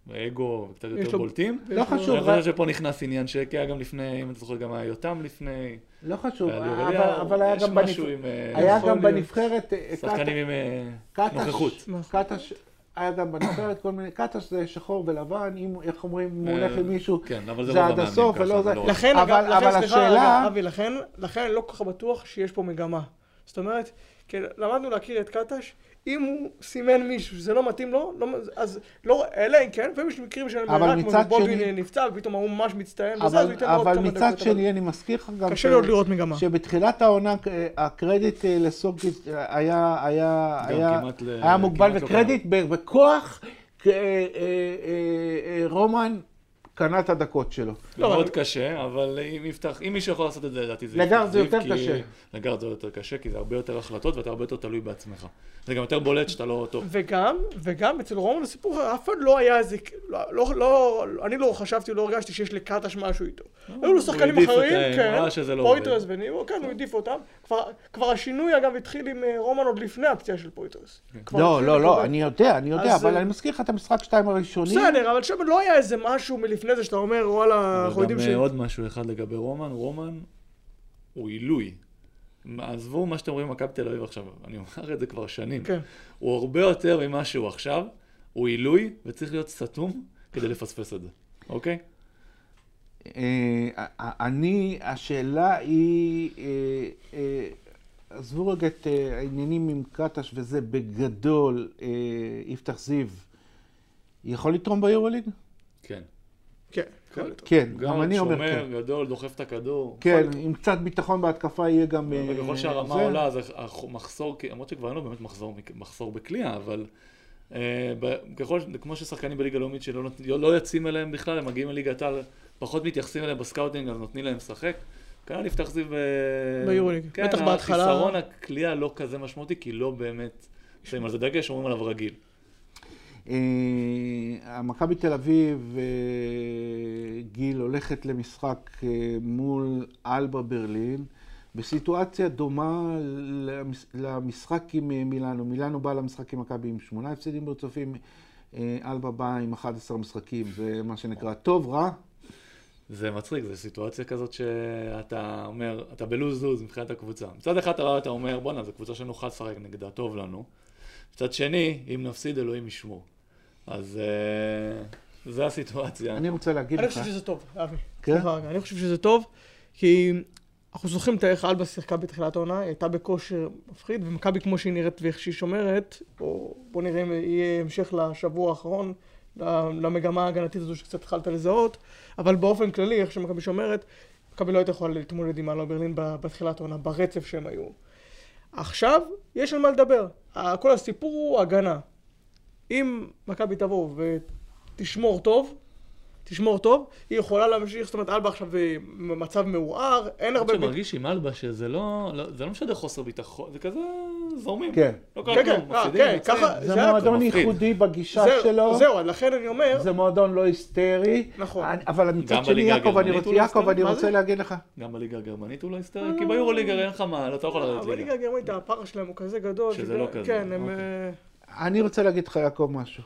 [SPEAKER 3] באגו וקצת
[SPEAKER 2] יש
[SPEAKER 3] יותר
[SPEAKER 2] לו-
[SPEAKER 3] בולטים.
[SPEAKER 1] לא חשוב,
[SPEAKER 3] אני חושב שפה נכנס עניין שקי היה גם לפני, אם אתה זוכר, גם היה יותם לפני.
[SPEAKER 1] לא חשוב,
[SPEAKER 3] היה
[SPEAKER 1] אבל-
[SPEAKER 3] ליאור,
[SPEAKER 1] אבל היה
[SPEAKER 3] יש
[SPEAKER 1] גם
[SPEAKER 3] משהו
[SPEAKER 1] בנבח-
[SPEAKER 3] עם, אה,
[SPEAKER 1] היה
[SPEAKER 2] יכול
[SPEAKER 1] גם
[SPEAKER 2] להיות.
[SPEAKER 1] בנבחרת, אה,
[SPEAKER 3] שחקנים עם אה,
[SPEAKER 1] קטש,
[SPEAKER 3] נוכחות.
[SPEAKER 1] קטש, היה גם בנבחרת כל מיני, קטש זה שחור ולבן, אם, איך אומרים, הוא הולך עם מישהו,
[SPEAKER 3] כן, אבל זה
[SPEAKER 1] זה
[SPEAKER 3] רוב
[SPEAKER 1] עד
[SPEAKER 3] המאמנים
[SPEAKER 1] הסוף
[SPEAKER 3] ככה,
[SPEAKER 1] ולא
[SPEAKER 3] זה
[SPEAKER 1] זה,
[SPEAKER 3] לא רק-
[SPEAKER 2] לכן,
[SPEAKER 1] אבל-
[SPEAKER 2] אבל, לכן
[SPEAKER 1] אבל
[SPEAKER 2] סליחה,
[SPEAKER 1] השאלה-
[SPEAKER 2] רגע, אבי, לכן, לכן אני לא כל כך בטוח שיש פה מגמה. זאת אומרת, כן, למדנו להכיר את קטש, אם הוא סימן מישהו שזה לא מתאים לו, לא, אז לא, אלא אם כן, לפעמים יש מקרים של
[SPEAKER 1] אבל
[SPEAKER 2] בן אדם
[SPEAKER 1] מצד
[SPEAKER 2] כמו בובין
[SPEAKER 1] שני-
[SPEAKER 2] נפצע, ופתאום ההוא ממש מצטיין, וזה, אז הוא
[SPEAKER 1] אבל,
[SPEAKER 2] ייתן לו עוד
[SPEAKER 1] אבל
[SPEAKER 2] כמה
[SPEAKER 1] מצד
[SPEAKER 2] דקות.
[SPEAKER 1] שני, אני מזכיר לך גם,
[SPEAKER 2] אבל קשה לי עוד לראות מגמה.
[SPEAKER 1] שבתחילת העונה אה, הקרדיט אה, לסורקיס אה, היה, היה,
[SPEAKER 3] גם
[SPEAKER 1] היה,
[SPEAKER 3] כמעט ל-
[SPEAKER 1] היה מוגבל,
[SPEAKER 3] כמעט לא
[SPEAKER 1] וקרדיט ב- בכוח, אה, אה, אה, אה, רומן קנה את הדקות שלו.
[SPEAKER 2] לא,
[SPEAKER 3] מאוד
[SPEAKER 2] אבל-
[SPEAKER 3] קשה, אבל אם יפתח, אם מישהו יכול לעשות את זה, לדעתי זה
[SPEAKER 1] לגר
[SPEAKER 3] יפתח
[SPEAKER 1] זה
[SPEAKER 3] זיו,
[SPEAKER 1] יותר
[SPEAKER 3] כי-
[SPEAKER 1] קשה.
[SPEAKER 3] לגר זה יותר קשה, כי זה הרבה יותר החלטות ואתה הרבה יותר תלוי בעצמך. זה גם יותר בולט שאתה לא טוב.
[SPEAKER 2] וגם, וגם אצל רומן הסיפור, אחר, אף אחד לא היה איזה, לא, לא, לא, אני לא חשבתי, לא הרגשתי שיש לקטש משהו איתו. היו לו שחקנים
[SPEAKER 3] אה, העדיף
[SPEAKER 2] אחרים,
[SPEAKER 3] אותם,
[SPEAKER 2] כן,
[SPEAKER 3] ראה שזה לא
[SPEAKER 2] פויטרס
[SPEAKER 3] עובד.
[SPEAKER 2] וניבו, כן, הוא העדיף אותם. כבר- כבר השינוי אגב התחיל עם אה, רומן עוד לפני הפציעה של פויטרס.
[SPEAKER 3] כן.
[SPEAKER 2] כבר
[SPEAKER 1] לא,
[SPEAKER 2] התחיל
[SPEAKER 1] לא,
[SPEAKER 2] לקבל-
[SPEAKER 1] לא, אני יודע, אני יודע,
[SPEAKER 2] אז,
[SPEAKER 1] אבל
[SPEAKER 2] אה,
[SPEAKER 1] אני מזכיר לך את המשחק שתיים הראשונים.
[SPEAKER 2] בסדר, אבל שם לא היה איזה משהו מלפני זה שאתה אומר, וואלה, אנחנו יודעים ש...
[SPEAKER 3] וגם אה, עוד משהו אחד לגבי רומן, רומן הוא עילוי. מה- עזבו מה שאתם רואים במכבי תל אביב עכשיו, אני אומר את זה כבר שנים.
[SPEAKER 2] כן.
[SPEAKER 3] הוא הרבה יותר ממה שהוא עכשיו, הוא עילוי וצריך להיות סתום כדי לפספס את זה, אוקיי?
[SPEAKER 1] אה, אני, השאלה היא, אה, אה, עזבו רגע את אה, העניינים עם קטש וזה בגדול, אה, יפתח זיו, יכול לתרום ביורוליג?
[SPEAKER 3] כן.
[SPEAKER 2] כן, כן, טוב.
[SPEAKER 1] כן, גם
[SPEAKER 3] גם
[SPEAKER 1] אני אומר
[SPEAKER 3] שומר
[SPEAKER 1] כן.
[SPEAKER 3] גדול, דוחף את הכדור.
[SPEAKER 1] כן, עם קצת ביטחון בהתקפה יהיה גם... אה,
[SPEAKER 3] וככל שהרמה
[SPEAKER 1] זה.
[SPEAKER 3] עולה, אז המחסור, למרות שכבר אין לו באמת מחסור, מחסור בקליעה, אבל אה, ב- ככל, ש- כמו ששחקנים בליגה לאומית שלא נות- לא יוצאים אליהם בכלל, הם מגיעים לליגת העל, פחות מתייחסים אליהם בסקאוטינג, אז נותנים להם לשחק. כנ"ל נפתח זיו ב...
[SPEAKER 2] ביורוליג.
[SPEAKER 3] אה, כן,
[SPEAKER 2] בטח בהתחלה.
[SPEAKER 3] החיסרון הכלייה לא כזה משמעותי, כי לא באמת שמים על זה דגש, אומרים עליו רגיל.
[SPEAKER 1] אה, מכבי תל אביב, אה, גיל, הולכת למשחק אה, מול אלבה ברלין, בסיטואציה דומה למש- למשחק עם אה, מילאנו. מילאנו באה למשחק עם מכבי עם שמונה הפסדים ברצופים, אה, אלבה באה עם 11 משחקים, זה מה שנקרא טוב, רע.
[SPEAKER 3] זה מצחיק, זו סיטואציה כזאת שאתה אומר, אתה בלוז-לוז מבחינת הקבוצה. מצד אחד אתה, אתה אומר, בואנה, זו קבוצה שנוכל לשחק נגדה, טוב לנו. מצד שני, אם נפסיד, אלוהים ישמור. אז uh, זו הסיטואציה.
[SPEAKER 1] אני רוצה להגיד
[SPEAKER 2] אני
[SPEAKER 1] לך,
[SPEAKER 2] חושב שזה טוב, אבי.
[SPEAKER 1] כן?
[SPEAKER 2] סליחה רגע, אני חושב שזה טוב, כי אנחנו זוכרים את איך אלבה שיחקה בתחילת העונה, היא הייתה בכושר מפחיד, ומכבי כמו שהיא נראית ואיך שהיא שומרת, או בוא נראה אם יהיה המשך לשבוע האחרון, ל- למגמה ההגנתית הזו שקצת התחלת לזהות, אבל באופן כללי, איך שמכבי שומרת, מכבי לא הייתה יכולה להתמודד עם אלבה ברלין ב- בתחילת העונה, ברצף שהם היו. עכשיו, יש על מה לדבר. ה- כל הסיפור הוא הגנה. אם מכבי תבוא ותשמור טוב, תשמור טוב, היא יכולה להמשיך, זאת אומרת, אלבה עכשיו אה, במצב מעורער, אין הרבה...
[SPEAKER 3] אני מרגיש עם אלבה שזה לא, לא, זה לא משדר חוסר ביטחון, זה כזה זורמים.
[SPEAKER 1] כן.
[SPEAKER 3] לא קרה
[SPEAKER 2] כן, כן,
[SPEAKER 3] כלום,
[SPEAKER 2] אה,
[SPEAKER 3] מפסידים,
[SPEAKER 2] כן,
[SPEAKER 3] יוצאים.
[SPEAKER 2] ככה,
[SPEAKER 1] זה
[SPEAKER 2] זה היה-
[SPEAKER 1] מועדון
[SPEAKER 3] מפחיד.
[SPEAKER 1] ייחודי בגישה
[SPEAKER 2] זהו,
[SPEAKER 1] שלו.
[SPEAKER 2] זהו, אז לכן אני אומר,
[SPEAKER 1] זה מועדון לא היסטרי.
[SPEAKER 2] נכון.
[SPEAKER 1] אני- אבל מצד שני,
[SPEAKER 3] בליגה
[SPEAKER 1] יעקב, אני
[SPEAKER 3] הגרמנית
[SPEAKER 1] רוצה,
[SPEAKER 3] הוא לא
[SPEAKER 1] יעקב,
[SPEAKER 3] היסטרי?
[SPEAKER 1] אני
[SPEAKER 2] מה
[SPEAKER 1] רוצה
[SPEAKER 2] זה?
[SPEAKER 1] להגיד לך.
[SPEAKER 3] גם בליגה הגרמנית הוא לא היסטרי, כי ביורוליגר אין לך מה, לא אתה יכול לרדת
[SPEAKER 2] אה, אבל
[SPEAKER 3] ליגה.
[SPEAKER 2] ליגה הגרמנית, הפער שלהם הוא כזה גדול.
[SPEAKER 3] שזה לא כזה,
[SPEAKER 2] כן, הם...
[SPEAKER 3] אוקיי.
[SPEAKER 2] אה,
[SPEAKER 1] אני רוצה להגיד לך, יעקב, משהו.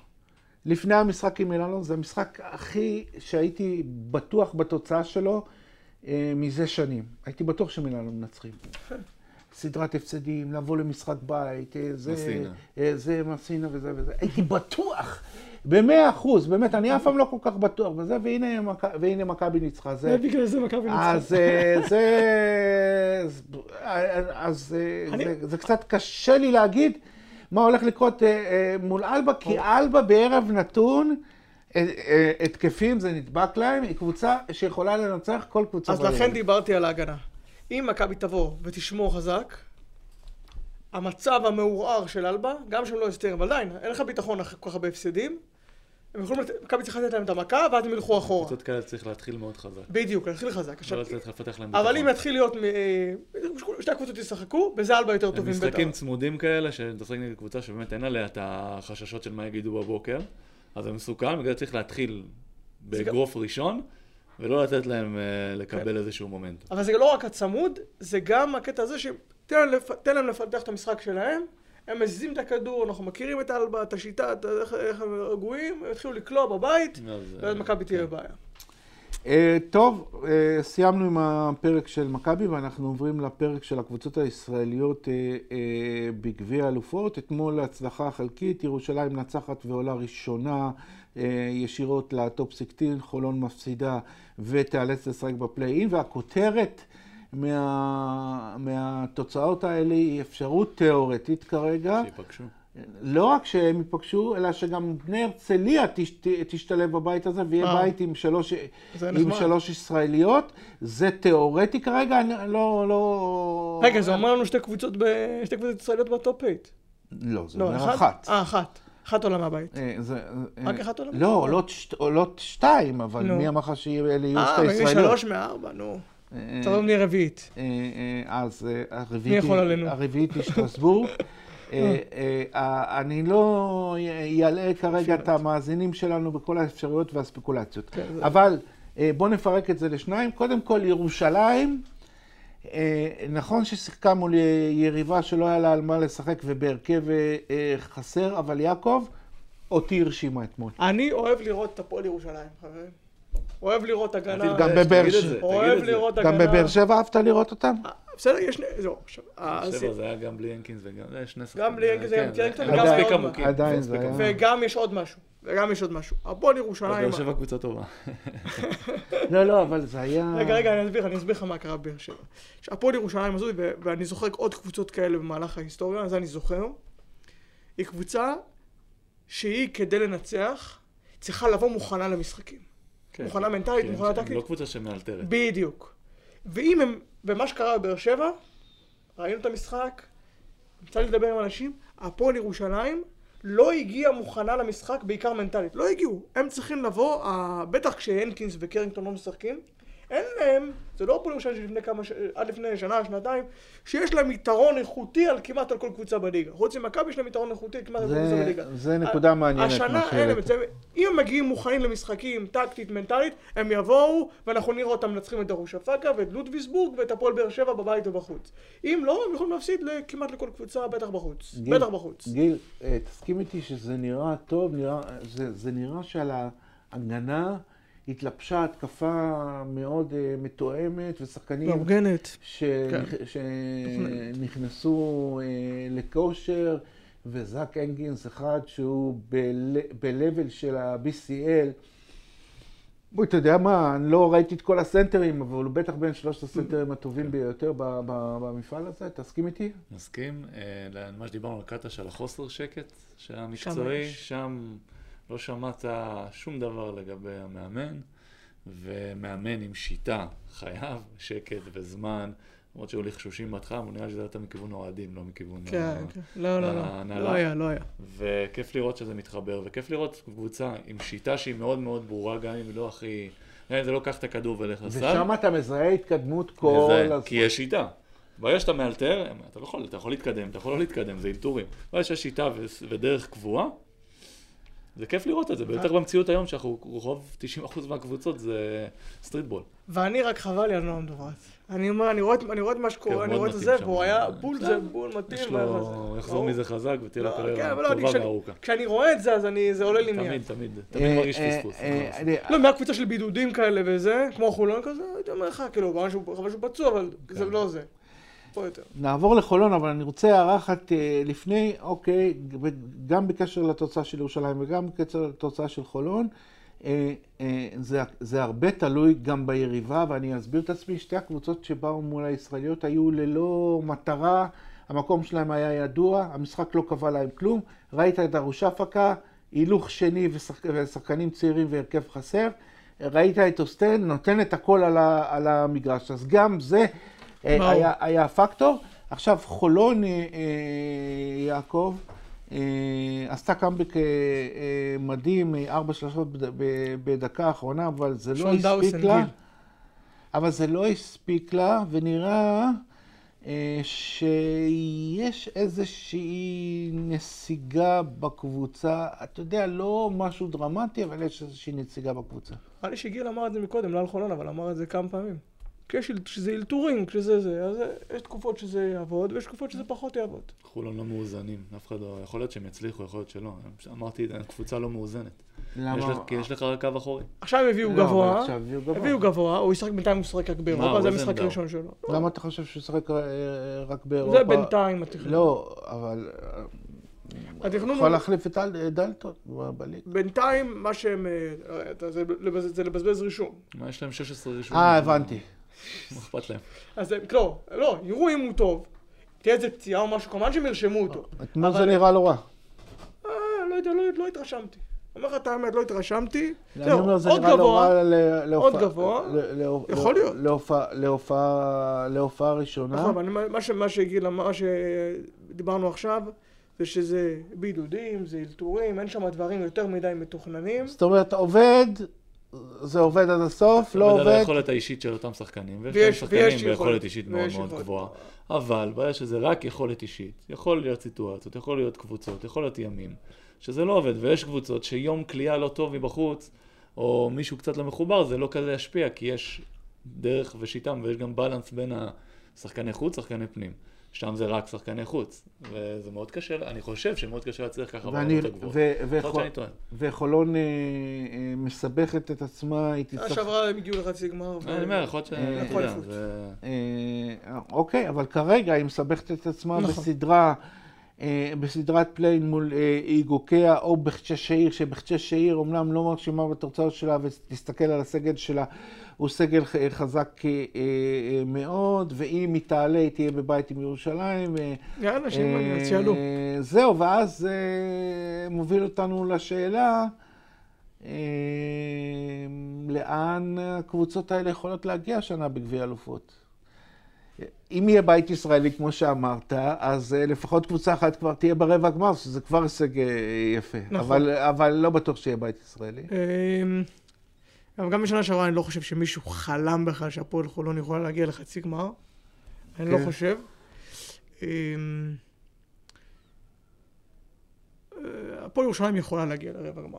[SPEAKER 1] לפני המשחק עם אילנון, זה המשחק הכי שהייתי בטוח בתוצאה שלו אה, מזה שנים. הייתי בטוח שמילאנו מנצחים. סדרת הפסדים, לבוא למשחק בית, אה, זה...
[SPEAKER 3] מסינה.
[SPEAKER 1] אה, זה מסינה וזה וזה. הייתי בטוח, במאה אחוז, באמת, אני אף פעם לא כל כך בטוח בזה, והנה מכ- והנה מכבי ניצחה. זה...
[SPEAKER 2] בגלל זה מכבי ניצחה.
[SPEAKER 1] אז אה, זה... אז אה,
[SPEAKER 2] אני-
[SPEAKER 1] זה- זה קצת קשה לי להגיד מה הולך לקרות אה, אה, מול אלבה, כי
[SPEAKER 2] אוקיי.
[SPEAKER 1] אלבה בערב נתון, אה, אה, התקפים זה נדבק להם, היא קבוצה שיכולה לנצח כל
[SPEAKER 3] אה,
[SPEAKER 1] קבוצה.
[SPEAKER 2] אז
[SPEAKER 1] בערב.
[SPEAKER 3] לא
[SPEAKER 2] לכן דיברתי על ההגנה. אם מכבי תבוא ותשמור חזק, המצב המעורער של אלבה, גם שהם לא הסתירים, אבל עדיין, אין לך ביטחון אחרי כל כך הרבה הפסדים, הם יכולים, לת- מכבי צריכה לתת להם את המכה, ואז הם ילכו אחורה.
[SPEAKER 3] קבוצות כאלה צריך להתחיל מאוד חזק.
[SPEAKER 2] בדיוק, להתחיל חזק. עכשיו,
[SPEAKER 3] לא צריך לפתח להם
[SPEAKER 2] אבל
[SPEAKER 3] ביטחון.
[SPEAKER 2] אם יתחיל להיות, מ- אה, שתי הקבוצות ישחקו, בזה אלבה יותר
[SPEAKER 3] הם
[SPEAKER 2] לא טובים
[SPEAKER 3] משחקים
[SPEAKER 2] בטח.
[SPEAKER 3] צמודים כאלה, שאתה משחק נגד קבוצה שבאמת אין עליה את החששות של מה יגידו בבוקר, אז זה מסוכן, בגלל זה צריך להתחיל באגרוף ראשון, ולא לתת להם אה, לקבל איזשהו מומנטום.
[SPEAKER 2] אבל זה לא רק הצמוד, זה גם הקטע הזה ש- תן להם לפ- תן להם לפתח את המשחק שלהם, הם מזיזים את הכדור, אנחנו מכירים את אלבה, את השיטה, את איך- איך הם רגועים, הם יתחילו לקלוע בבית,
[SPEAKER 3] אז, אה,
[SPEAKER 2] ואז מכבי תהיה בבעיה.
[SPEAKER 1] אה, טוב, אה, סיימנו עם הפרק של מכבי, ואנחנו עוברים לפרק של הקבוצות הישראליות אה, אה, בגביע האלופות. אתמול הצלחה חלקית, ירושלים נצחת ועולה ראשונה אה, ישירות לטופ 16, חולון מפסידה ותיאלץ לשחק בפליי-אין, והכותרת מה, מהתוצאות האלה היא אפשרות תיאורטית כרגע.
[SPEAKER 3] שיפגשו.
[SPEAKER 1] לא רק שהם ייפגשו, אלא שגם בני הרצליה תש, ת- תשתלב בבית הזה, ויהיה
[SPEAKER 2] וואו.
[SPEAKER 1] בית עם שלוש,
[SPEAKER 2] אה. זה
[SPEAKER 1] עם
[SPEAKER 2] נחמד.
[SPEAKER 1] שלוש ישראליות. זה תיאורטי כרגע, אני לא... לא...
[SPEAKER 2] רגע, זה אומר לנו שתי קבוצות ב- שתי קבוצות ישראליות בטופ 8.
[SPEAKER 1] לא, זה
[SPEAKER 2] לא,
[SPEAKER 1] אומר
[SPEAKER 2] אחת?
[SPEAKER 1] אחת.
[SPEAKER 2] אה, אחת. אחת עולה מהבית.
[SPEAKER 1] אה, זה,
[SPEAKER 2] רק
[SPEAKER 1] אה,
[SPEAKER 2] אחת עולה?
[SPEAKER 1] לא, עולות שת- עולות שתיים, אבל
[SPEAKER 2] נו.
[SPEAKER 1] מי אמר לך שאלה יהיו
[SPEAKER 2] אה,
[SPEAKER 1] שתי
[SPEAKER 2] מי
[SPEAKER 1] ישראליות?
[SPEAKER 2] שלוש לא מארבע, נו.
[SPEAKER 1] אה,
[SPEAKER 2] טוב, נהיה רביעית.
[SPEAKER 1] אה, אה, אז אה, הרביעית
[SPEAKER 2] יכול
[SPEAKER 1] היא-
[SPEAKER 2] עלינו?
[SPEAKER 1] הרביעית היא שטרסבורג. אה, אה, אה, אני לא אלאה כרגע את המאזינים שלנו בכל האפשרויות והספקולציות.
[SPEAKER 2] כן, זה-
[SPEAKER 1] אבל אה, בואו נפרק את זה לשניים. קודם כל, ירושלים, אה, נכון ששיחקה מול יריבה שלא היה לה על מה לשחק ובהרכב אה, אה, חסר, אבל יעקב, אותי הרשימה אתמול.
[SPEAKER 2] אני אוהב לראות את הפועל ירושלים, חברים. אוהב לראות הגנה.
[SPEAKER 1] גם
[SPEAKER 3] תגיד
[SPEAKER 1] בבאר
[SPEAKER 3] את
[SPEAKER 1] שבע.
[SPEAKER 3] זה, תגיד
[SPEAKER 2] אוהב
[SPEAKER 3] את זה.
[SPEAKER 2] לראות הגנה.
[SPEAKER 1] גם בבאר שבע אהבת לראות אותם?
[SPEAKER 2] אה, בסדר, יש... שני- זהו, עכשיו. אה, אז-
[SPEAKER 3] שבע זה היה גם בלי ינקינס וגם, זה שני שחקנים.
[SPEAKER 2] גם בלי ינקינס,
[SPEAKER 3] כן,
[SPEAKER 2] גם קלינגטון
[SPEAKER 3] זה
[SPEAKER 1] וגם
[SPEAKER 3] מספיק
[SPEAKER 2] אורבך.
[SPEAKER 3] עמוקים,
[SPEAKER 1] עדיין
[SPEAKER 3] מספיק
[SPEAKER 1] זה היה-
[SPEAKER 3] עמוקים.
[SPEAKER 2] וגם יש עוד משהו. וגם יש עוד משהו. הפועל ירושלים...
[SPEAKER 3] באר שבע קבוצה טובה.
[SPEAKER 1] לא, לא, אבל זה היה...
[SPEAKER 2] רגע, רגע, אני אסביר לך, אני אסביר לך מה קרה בבאר שבע. הפועל ירושלים הזו, ו- ואני זוכר עוד קבוצות כאלה במהלך ההיסטוריה, זה אני זוכר, היא קבוצה שהיא, כדי לנצח, צריכה לבוא מוכנה למשחקים.
[SPEAKER 3] כן.
[SPEAKER 2] מוכנה מנטלית,
[SPEAKER 3] כן,
[SPEAKER 2] מוכנה
[SPEAKER 3] הם
[SPEAKER 2] טקטית.
[SPEAKER 3] לא קבוצה שמאלתרת.
[SPEAKER 2] בדיוק. ואם הם, ומה שקרה בבאר שבע, ראינו את המשחק, יצא לי לדבר עם אנשים, הפועל ירושלים לא הגיעה מוכנה למשחק, בעיקר מנטלית. לא הגיעו. הם צריכים לבוא, ה- בטח כשהנקינס וקרינגטון לא משחקים, אין להם, זה לא הפועלים שלהם שלפני כמה, ש- עד לפני שנה, שנתיים, שיש להם יתרון איכותי על כמעט על כל קבוצה בליגה. חוץ ממכבי יש להם יתרון איכותי על כמעט על כל קבוצה
[SPEAKER 1] זה,
[SPEAKER 2] בליגה.
[SPEAKER 1] זה נקודה מעניינת. מה
[SPEAKER 2] השנה אין
[SPEAKER 1] שהעלית.
[SPEAKER 2] להם את זה. אם הם מגיעים מוכנים למשחקים, טקטית, מנטלית, הם יבואו, ואנחנו נראה אותם מנצחים את דרושפקה ואת לודוויסבורג ואת הפועל באר שבע בבית ובחוץ. אם לא, הם יכולים להפסיד כמעט לכל קבוצה, בטח בחוץ.
[SPEAKER 1] גיל,
[SPEAKER 2] בטח בחוץ.
[SPEAKER 1] גיל, אה, תסכים איתי שזה נראה טוב, נראה, זה, זה נראה שעל ההגנה התלבשה התקפה מאוד אה, מתואמת,
[SPEAKER 2] לא,
[SPEAKER 1] ושחקנים
[SPEAKER 2] מאורגנת.
[SPEAKER 1] שנכ... שנכנסו אה, לכושר, וזאק הנגינס אחד שהוא בל... ב-level של ה-BCL. בואי, אתה יודע מה, אני לא ראיתי את כל הסנטרים, אבל הוא בטח בין שלושת הסנטרים הטובים ביותר ב- ב- במפעל הזה, תסכים איתי?
[SPEAKER 3] מסכים? אה, למה שדיברנו על קטש, על החוסר שקט שהיה מקצועי,
[SPEAKER 2] יש.
[SPEAKER 3] שם לא שמעת שום דבר לגבי המאמן, ומאמן עם שיטה חייב שקט וזמן, למרות שהיו לי חשושים בהתחלה, אבל נראה לי שזה היה יותר מכיוון האוהדים, לא מכיוון... ה-
[SPEAKER 2] כן, כן. לא, לא, לא.
[SPEAKER 3] ההנהלה.
[SPEAKER 2] לא היה, לא היה.
[SPEAKER 3] וכיף לראות שזה מתחבר, וכיף לראות קבוצה עם שיטה שהיא מאוד מאוד ברורה, גם אם היא לא הכי... גם אם זה לא קח את הכדור ולך לסל.
[SPEAKER 1] ושם אתה מזהה התקדמות כל
[SPEAKER 3] לזהה,
[SPEAKER 1] הזמן.
[SPEAKER 3] כי יש שיטה. ברגע שאתה מאלתר, אתה לא יכול, אתה יכול להתקדם, אתה יכול לא להתקדם, זה אלתורים. ברגע שיש שיטה ו- ודרך קבועה, זה כיף לראות
[SPEAKER 2] אה.
[SPEAKER 3] את זה, ביותר במציאות היום, שאנחנו, רוב 90% מהקבוצות זה סטריט בול.
[SPEAKER 2] ואני רק חבל לי על נועם דוברת. אני אומר, אני רואה את- אני רואה את מה
[SPEAKER 3] כן,
[SPEAKER 2] שקורה, אני
[SPEAKER 3] מאוד
[SPEAKER 2] רואה את
[SPEAKER 3] מתאים
[SPEAKER 2] זה,
[SPEAKER 3] שם.
[SPEAKER 2] והוא היה בול זה,
[SPEAKER 3] בסדר.
[SPEAKER 2] בול מתאים.
[SPEAKER 3] יש
[SPEAKER 2] והיה זה.
[SPEAKER 3] לו, יחזור
[SPEAKER 2] ברור.
[SPEAKER 3] מזה חזק ותהיה לו
[SPEAKER 2] לא, כן, אבל
[SPEAKER 3] קריירה
[SPEAKER 2] לא, אני-
[SPEAKER 3] טובה
[SPEAKER 2] כשאני-
[SPEAKER 3] וארוכה.
[SPEAKER 2] כשאני רואה את זה, אז אני- זה עולה לי מיד.
[SPEAKER 3] תמיד, תמיד,
[SPEAKER 1] אה,
[SPEAKER 3] תמיד מרגיש
[SPEAKER 1] אה,
[SPEAKER 3] פספוס.
[SPEAKER 1] אה, אני-
[SPEAKER 2] לא, מהקבוצה של בידודים כאלה וזה, כמו חולון כזה, הייתי אומר לך, כאילו, ברור שהוא- חבל שהוא פצוע, אבל זה
[SPEAKER 1] כן.
[SPEAKER 2] לא זה. פה יותר.
[SPEAKER 1] נעבור לחולון, אבל אני רוצה הערה אחת אה, לפני, אוקיי, ב- גם בקשר לתוצאה של ירושלים וגם בקשר לתוצאה של חולון. אה, אה, זה, זה הרבה תלוי גם ביריבה, ואני אסביר את עצמי, שתי הקבוצות שבאו מול הישראליות היו ללא מטרה, המקום שלהם היה ידוע, המשחק לא קבע להם כלום, ראית את דרושפקה, הילוך שני ושחק, ושחקנים צעירים והרכב חסר, ראית את אוסטן, נותן את הכל על, ה, על המגרש, אז גם זה אה,
[SPEAKER 2] ברור.
[SPEAKER 1] היה, היה פקטור. עכשיו חולון, אה, אה, יעקב, אה, עשתה קאמבק אה, אה, מדהים, אה, ארבע שלושות בד- ב- בדקה האחרונה, אבל זה לא
[SPEAKER 2] שון
[SPEAKER 1] הספיק
[SPEAKER 2] דאוסן,
[SPEAKER 1] לה.
[SPEAKER 2] גיל.
[SPEAKER 1] אבל זה לא הספיק לה, ונראה אה, שיש איזושהי נסיגה בקבוצה. אתה יודע, לא משהו דרמטי, אבל יש איזושהי נסיגה בקבוצה.
[SPEAKER 2] נראה לי שגיל אמר את זה מקודם, לא על חולון, אבל אמר את זה כמה פעמים. כשיש אל- כשזה אלתורים, כשזה זה, אז אה, יש תקופות שזה יעבוד, ויש תקופות שזה פחות יעבוד.
[SPEAKER 3] חולון לא מאוזנים, אף אחד לא, יכול להיות שהם יצליחו, יכול להיות שלא. אמרתי, הקבוצה לא מאוזנת. יש לך- כי יש לך רק קו אחורי.
[SPEAKER 2] עכשיו הביאו
[SPEAKER 1] לא, אבל
[SPEAKER 2] גבוה,
[SPEAKER 1] עכשיו הביאו גבוה.
[SPEAKER 2] הביאו גבוה, הוא ישחק בינתיים, הוא ישחק רק באירופה,
[SPEAKER 3] הוא
[SPEAKER 2] זה
[SPEAKER 3] איזה
[SPEAKER 2] המשחק
[SPEAKER 1] לא.
[SPEAKER 3] עמדה הוא?
[SPEAKER 2] הראשון שלו.
[SPEAKER 1] למה אתה חושב שהוא ישחק אה, אה, רק באירופה?
[SPEAKER 2] זה בינתיים התכנון.
[SPEAKER 1] לא, אבל... אה,
[SPEAKER 2] התכנון
[SPEAKER 1] יכול
[SPEAKER 2] הוא-
[SPEAKER 1] להחליף את אל- אה, דלטון ב- בליגה.
[SPEAKER 2] בינתיים, מה שהם... אה, אה, אתה- זה לבז- זה לבזבז רישום.
[SPEAKER 3] מה, יש להם 16 ראשונים.
[SPEAKER 1] אה, הבנתי.
[SPEAKER 3] מה אכפת להם?
[SPEAKER 2] אז הם, לא, לא, יראו אם הוא טוב, תהיה איזה פציעה או משהו, כמובן שהם ירשמו אותו.
[SPEAKER 1] אתמול זה
[SPEAKER 2] אבל-
[SPEAKER 1] נראה לא רע.
[SPEAKER 2] אה, לא יודע, לא, לא התרשמתי. אומר לך את האמת, לא התרשמתי.
[SPEAKER 1] אני
[SPEAKER 2] זהו,
[SPEAKER 1] אומר, זה
[SPEAKER 2] עוד
[SPEAKER 1] נראה לא
[SPEAKER 2] גבוה,
[SPEAKER 1] רע ל- להופעה...
[SPEAKER 2] גבוה.
[SPEAKER 1] ל- ל-
[SPEAKER 2] יכול
[SPEAKER 1] ל-
[SPEAKER 2] להיות.
[SPEAKER 1] להופעה- להופעה- להופעה ראשונה.
[SPEAKER 2] נכון, אבל מה- מה ש- מה שגיל אמר, מה שדיברנו עכשיו, זה שזה בידודים, זה אלתורים, אין שם דברים יותר מדי מתוכננים.
[SPEAKER 1] זאת אומרת, עובד, זה עובד עד הסוף, לא
[SPEAKER 3] עובד על
[SPEAKER 1] עובד.
[SPEAKER 3] היכולת האישית של אותם שחקנים, ויש להם
[SPEAKER 2] ויש- ויש
[SPEAKER 3] שחקנים
[SPEAKER 2] יכולת,
[SPEAKER 3] ביכולת אישית מאוד
[SPEAKER 2] ויש
[SPEAKER 3] מאוד
[SPEAKER 2] יכולת.
[SPEAKER 3] גבוהה, אבל ברגע שזה רק יכולת אישית, יכול להיות סיטואציות, יכול להיות קבוצות, יכול להיות ימים, שזה לא עובד, ויש קבוצות שיום כליאה לא טוב מבחוץ, או מישהו קצת לא מחובר, זה לא כזה ישפיע, כי יש דרך ושיטה, ויש גם בלנס בין השחקני חוץ, שחקני פנים. שם זה רק שחקני חוץ, וזה מאוד קשה, אני חושב שמאוד קשה להצליח ככה
[SPEAKER 1] ואני-
[SPEAKER 3] בעולמות הגבוהות.
[SPEAKER 1] ו-
[SPEAKER 3] יכול להיות
[SPEAKER 1] וחו-
[SPEAKER 3] שאני טועה.
[SPEAKER 1] וחולון אה, אה, מסבכת את עצמה, היא
[SPEAKER 2] שנה
[SPEAKER 1] תצטרך...
[SPEAKER 2] שעברה הם הגיעו לחצי גמר. ו-
[SPEAKER 3] אני אומר, יכול להיות ש...
[SPEAKER 1] אה,
[SPEAKER 3] אתה יודע,
[SPEAKER 2] יכול להיות.
[SPEAKER 3] זה-
[SPEAKER 1] אה, אוקיי, אבל כרגע היא מסבכת את עצמה
[SPEAKER 2] נכון.
[SPEAKER 1] בסדרה, אה, בסדרת פליין מול אה, איגוקיה או בחצ'ש שעיר, שבחצ'ש שעיר אמנם לא מרשימה בתוצאות שלה, ותסתכל על הסגל שלה, הוא סגל ח- חזק אה, אה, מאוד, ואם היא תעלה, היא תהיה בבית עם ירושלים. אה,
[SPEAKER 2] יאללה,
[SPEAKER 1] אה,
[SPEAKER 2] שימניה, שיעלו.
[SPEAKER 1] זהו, ואז אה, מוביל אותנו לשאלה, אה, לאן הקבוצות האלה יכולות להגיע השנה בגביע אלופות? אם יהיה בית ישראלי, כמו שאמרת, אז אה, לפחות קבוצה אחת כבר תהיה ברבע הגמר, שזה כבר הישג אה, יפה.
[SPEAKER 2] נכון.
[SPEAKER 1] אבל, אבל לא בטוח שיהיה בית ישראלי.
[SPEAKER 2] אמ, אבל גם בשנה שעברה אני לא חושב שמישהו חלם בכלל שהפועל חולון יכולה להגיע לחצי גמר. אני לא
[SPEAKER 1] כן.
[SPEAKER 2] חושב. אמ, אה, הפועל ירושלים יכולה להגיע לרבע גמר.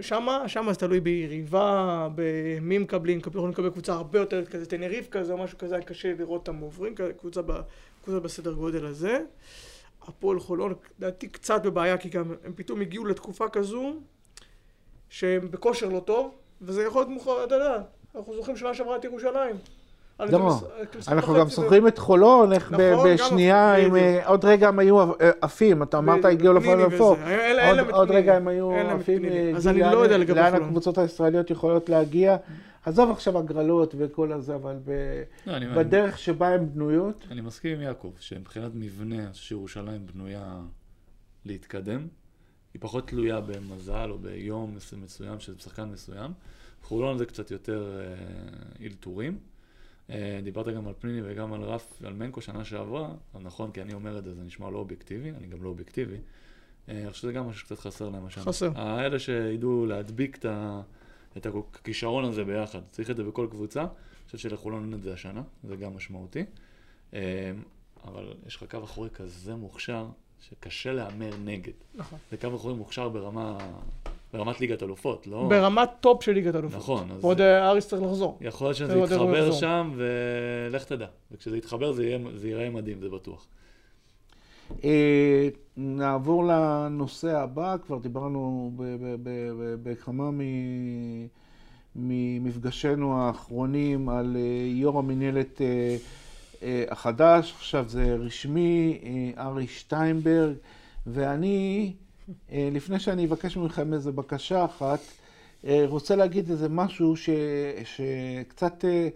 [SPEAKER 2] שמה, שמה זה תלוי ביריבה, במי מקבלים, קב- יכולים לקבל קבוצה הרבה יותר כזה תנריף כזה או משהו כזה, היה קשה לראות אותם עוברים, כזה, קבוצה, ב, קבוצה בסדר גודל הזה. הפועל חולון, לדעתי קצת בבעיה, כי גם הם פתאום הגיעו לתקופה כזו, שהם בכושר לא טוב, וזה יכול להיות מאוחר, אתה יודע, אנחנו זוכרים שנה שעברה את ירושלים. על אה,
[SPEAKER 1] למה?
[SPEAKER 2] זה מס- כמשחק
[SPEAKER 1] אנחנו
[SPEAKER 2] בחצי
[SPEAKER 1] גם זוכרים את חולון, איך ב-
[SPEAKER 2] נכון, גם
[SPEAKER 1] בשנייה,
[SPEAKER 2] הפועל,
[SPEAKER 1] הם, אה, עוד רגע הם היו אה, עפים, אתה אמרת,
[SPEAKER 2] בדיוק,
[SPEAKER 1] הגיעו לפעמים
[SPEAKER 2] פניני
[SPEAKER 1] לפור.
[SPEAKER 2] וזה. אין- אין להם את
[SPEAKER 1] עוד
[SPEAKER 2] פניני.
[SPEAKER 1] רגע הם היו
[SPEAKER 2] אין להם את
[SPEAKER 1] עפים,
[SPEAKER 2] פניני.
[SPEAKER 1] אה,
[SPEAKER 2] אז
[SPEAKER 1] גיל,
[SPEAKER 2] אני לא
[SPEAKER 1] לאן-
[SPEAKER 2] יודע לגבי
[SPEAKER 1] לאן
[SPEAKER 2] חולון.
[SPEAKER 1] הקבוצות הישראליות יכולות להגיע. עזוב עכשיו הגרלות וכל הזה, אבל ב-
[SPEAKER 3] לא, אני- אני-
[SPEAKER 1] בדרך שבה הן בנויות,
[SPEAKER 3] אני מסכים עם יעקב, שמבחינת מבנה, אני חושב שירושלים בנויה להתקדם. היא פחות תלויה במזל או ביום מס- מסוים של שחקן מסוים. חולון זה קצת יותר אה, אלתורים. אה, דיברת גם על פניני וגם על רף, על מנקו שנה שעברה. אז נכון, כי אני אומר את זה, זה נשמע לא אובייקטיבי, אני גם לא אובייקטיבי. אה, אני חושב שזה גם משהו שקצת חסר להם השנה.
[SPEAKER 2] חסר.
[SPEAKER 3] האלה שידעו להדביק את, ה, את הכישרון הזה ביחד. צריך את זה בכל קבוצה. אני חושב שלחולון אין את זה השנה, זה גם משמעותי. אה, אבל יש לך קו אחורי כזה מוכשר, שקשה להמר נגד.
[SPEAKER 2] נכון.
[SPEAKER 3] זה קו אחורי מוכשר ברמה, ברמת ליגת אלופות, לא?
[SPEAKER 2] ברמת טופ של ליגת אלופות.
[SPEAKER 3] נכון, אז
[SPEAKER 2] ועוד אה, אריס צריך לחזור.
[SPEAKER 3] יכול להיות שזה
[SPEAKER 2] זה עוד אירוע
[SPEAKER 3] יתחבר
[SPEAKER 2] מחזור.
[SPEAKER 3] שם, ולך תדע. וכשזה יתחבר זה, יהיה, זה ייראה מדהים, זה בטוח.
[SPEAKER 1] אה, נעבור לנושא הבא, כבר דיברנו ב- ב- ב- ב- בכמה מ- ממפגשינו האחרונים על אה, יו"ר המינהלת אה, אה, החדש, עכשיו זה רשמי, אה, ארי שטיינברג, ואני, אה, לפני שאני אבקש מכם איזה בקשה אחת, אה, רוצה להגיד איזה משהו ש- שקצת אה,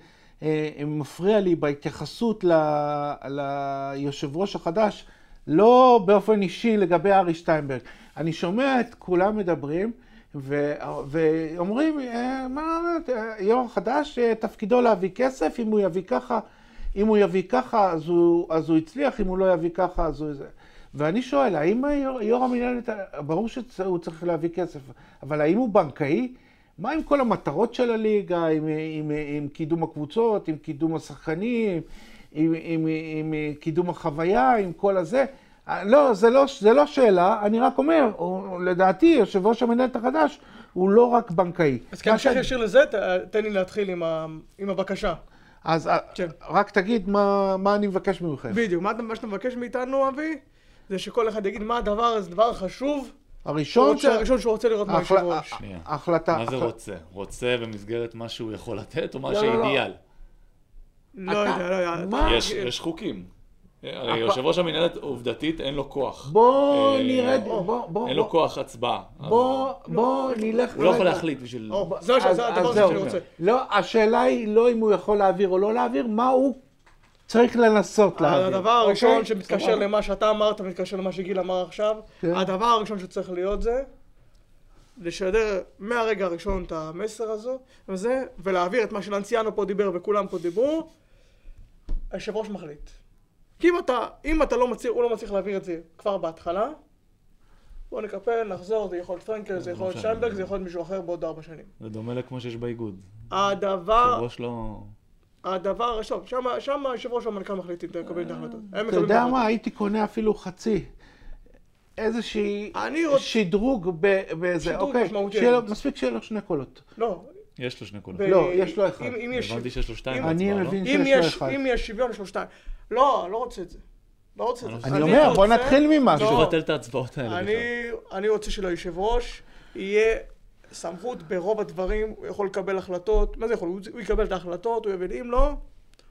[SPEAKER 1] אה, מפריע לי בהתייחסות ל- ליושב ראש החדש, לא באופן אישי לגבי ארי שטיינברג. אני שומע את כולם מדברים, ו- ואומרים, אה, מה, אה, יו"ר חדש, אה, תפקידו להביא כסף, אם הוא יביא ככה, אם הוא יביא ככה, אז הוא, אז הוא הצליח, אם הוא לא יביא ככה, אז הוא... זה. ואני שואל, האם היו"ר- יו"ר המינהלת, ברור שהוא צריך להביא כסף, אבל האם הוא בנקאי? מה עם כל המטרות של הליגה, עם, עם, עם קידום הקבוצות, עם קידום השחקנים, עם, עם, עם קידום החוויה, עם כל הזה? אה, לא, זה לא, זה לא שאלה, אני רק אומר, הוא, לדעתי, יושב ראש המנהלת החדש, הוא לא רק בנקאי.
[SPEAKER 2] אז כן,
[SPEAKER 1] מה
[SPEAKER 2] כהמשך
[SPEAKER 1] שאני-
[SPEAKER 2] ישיר לזה, ת- אה, תן לי להתחיל עם ה- עם הבקשה.
[SPEAKER 1] אז אה,
[SPEAKER 2] כן.
[SPEAKER 1] רק תגיד מה, מה אני מבקש ממכם.
[SPEAKER 2] בדיוק, מה אתה- מה שאתה מבקש מאיתנו, אבי, זה שכל אחד יגיד מה הדבר הזה, דבר חשוב, שהוא
[SPEAKER 1] הראשון,
[SPEAKER 2] רוצה- הראשון שהוא רוצה לראות מהיושב
[SPEAKER 1] ההחלה-
[SPEAKER 2] ראש.
[SPEAKER 3] שנייה.
[SPEAKER 1] ההחלטה,
[SPEAKER 3] מה זה
[SPEAKER 1] הח-
[SPEAKER 3] רוצה? רוצה במסגרת מה שהוא יכול לתת, או מה
[SPEAKER 1] לא, לא, לא.
[SPEAKER 3] שאידיאל?
[SPEAKER 2] לא יודע, לא יודע.
[SPEAKER 1] מה?
[SPEAKER 3] יש, יש חוקים. אה, הרי יושב ראש המנהלת עובדתית אין לו כוח.
[SPEAKER 1] אה, בוא
[SPEAKER 3] אה,
[SPEAKER 1] נרד, בוא, בוא, בוא,
[SPEAKER 3] אין לו כוח הצבעה. אז
[SPEAKER 1] בוא, בוא נלך,
[SPEAKER 3] הוא לא יכול
[SPEAKER 1] רגע.
[SPEAKER 3] להחליט בשביל...
[SPEAKER 2] או, זה מה ש-
[SPEAKER 1] אז-
[SPEAKER 2] זה
[SPEAKER 1] אז
[SPEAKER 2] הדבר הזה
[SPEAKER 1] זהו.
[SPEAKER 2] שאני רוצה.
[SPEAKER 1] לא, השאלה היא לא אם הוא יכול להעביר או לא להעביר, מה הוא צריך לנסות להעביר.
[SPEAKER 2] הדבר הראשון
[SPEAKER 1] אוקיי?
[SPEAKER 2] שמתקשר למה שאתה אמרת, מתקשר למה שגיל אמר עכשיו,
[SPEAKER 1] כן.
[SPEAKER 2] הדבר הראשון שצריך להיות זה, לשדר מהרגע הראשון את המסר הזו, וזה, ולהעביר את מה שלנציאנו פה דיבר וכולם פה דיברו, היושב ראש מחליט. כי אם אתה, אם אתה לא מצליח, הוא לא מצליח להעביר את זה כבר בהתחלה, בוא נקפל, נחזור, זה יכול להיות פרנקל, זה יכול להיות
[SPEAKER 3] לא משנה.
[SPEAKER 2] שיינברג, זה יכול להיות מישהו אחר בעוד ארבע שנים.
[SPEAKER 3] זה דומה לכמו שיש באיגוד.
[SPEAKER 2] הדבר,
[SPEAKER 3] יושב ראש לא...
[SPEAKER 2] הדבר הראשון, שמה, שמה היושב ראש והמנכ"ל מחליטים לקבל את ההחלטות. הם
[SPEAKER 1] אתה
[SPEAKER 2] מקבלים את
[SPEAKER 1] יודע
[SPEAKER 2] ההחלטות.
[SPEAKER 1] מה, הייתי קונה אפילו חצי. איזושהי
[SPEAKER 2] אני רוצ-
[SPEAKER 1] שדרוג ב- באיזה,
[SPEAKER 2] שדרוג
[SPEAKER 1] אוקיי,
[SPEAKER 2] משמעותי.
[SPEAKER 1] שיהיה לו- מספיק שיהיה לו שני קולות.
[SPEAKER 2] לא,
[SPEAKER 3] יש לו שני קולות.
[SPEAKER 2] ב-
[SPEAKER 1] לא, יש לו אחד.
[SPEAKER 2] אם, אם יש,
[SPEAKER 3] הבנתי שיש לו שתיים
[SPEAKER 2] אם-
[SPEAKER 3] בהצבעה,
[SPEAKER 1] אני
[SPEAKER 3] לא?
[SPEAKER 1] מבין
[SPEAKER 2] אם,
[SPEAKER 1] שיש לו
[SPEAKER 2] יש,
[SPEAKER 1] אחד.
[SPEAKER 2] אם יש שוויון יש לו שתיים. לא, לא רוצה את זה. לא רוצה את זה.
[SPEAKER 1] אני אומר, בוא
[SPEAKER 2] רוצה-
[SPEAKER 1] נתחיל ממשהו.
[SPEAKER 2] לא,
[SPEAKER 3] מישהו לבטל את ההצבעות האלה בכלל.
[SPEAKER 2] אני, אני רוצה שליושב ראש יהיה סמכות ברוב הדברים, הוא יכול לקבל החלטות, מה זה יכול? הוא, הוא יקבל את ההחלטות, הוא יבין, אם לא,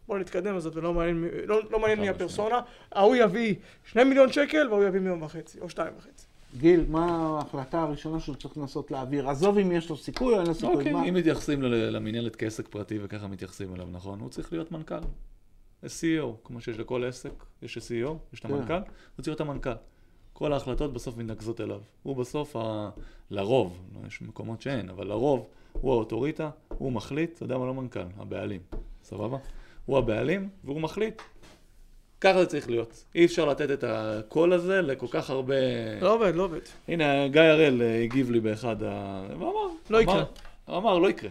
[SPEAKER 2] בוא נתקדם לזה, ולא מעניין, מי- לא, לא מעניין מי הפרסונה, ההוא יביא שני מיליון שקל וההוא יביא מיליון וחצי, או שתיים וחצי.
[SPEAKER 1] גיל, מה ההחלטה הראשונה שהוא צריך לנסות להעביר? עזוב אם יש לו סיכוי או אין לו סיכוי. מה-
[SPEAKER 3] אוקיי, אם מתייחסים ל- למינהלת כעסק פרטי וככה מתייחסים אליו, נכון? הוא צריך להיות מנכ"ל. CEO, כמו שיש לכל עסק, יש CEO, יש את
[SPEAKER 1] כן.
[SPEAKER 3] המנכ"ל, הוא צריך להיות המנכ"ל. כל ההחלטות בסוף מתנקזות אליו. הוא בסוף, ה... לרוב, לא, יש מקומות שאין, אבל לרוב, הוא האוטוריטה, הוא מחליט, אתה יודע מה לא מנכ"ל, הבעלים, סבבה? הוא הבעלים, והוא מחליט. ככה זה צריך להיות. אי אפשר לתת את הקול הזה לכל כך הרבה...
[SPEAKER 2] לא עובד, לא עובד.
[SPEAKER 3] הנה, גיא הראל אה, הגיב לי באחד ה... והוא אמר...
[SPEAKER 2] לא
[SPEAKER 3] אמר-
[SPEAKER 2] יקרה.
[SPEAKER 3] הוא אמר, לא יקרה.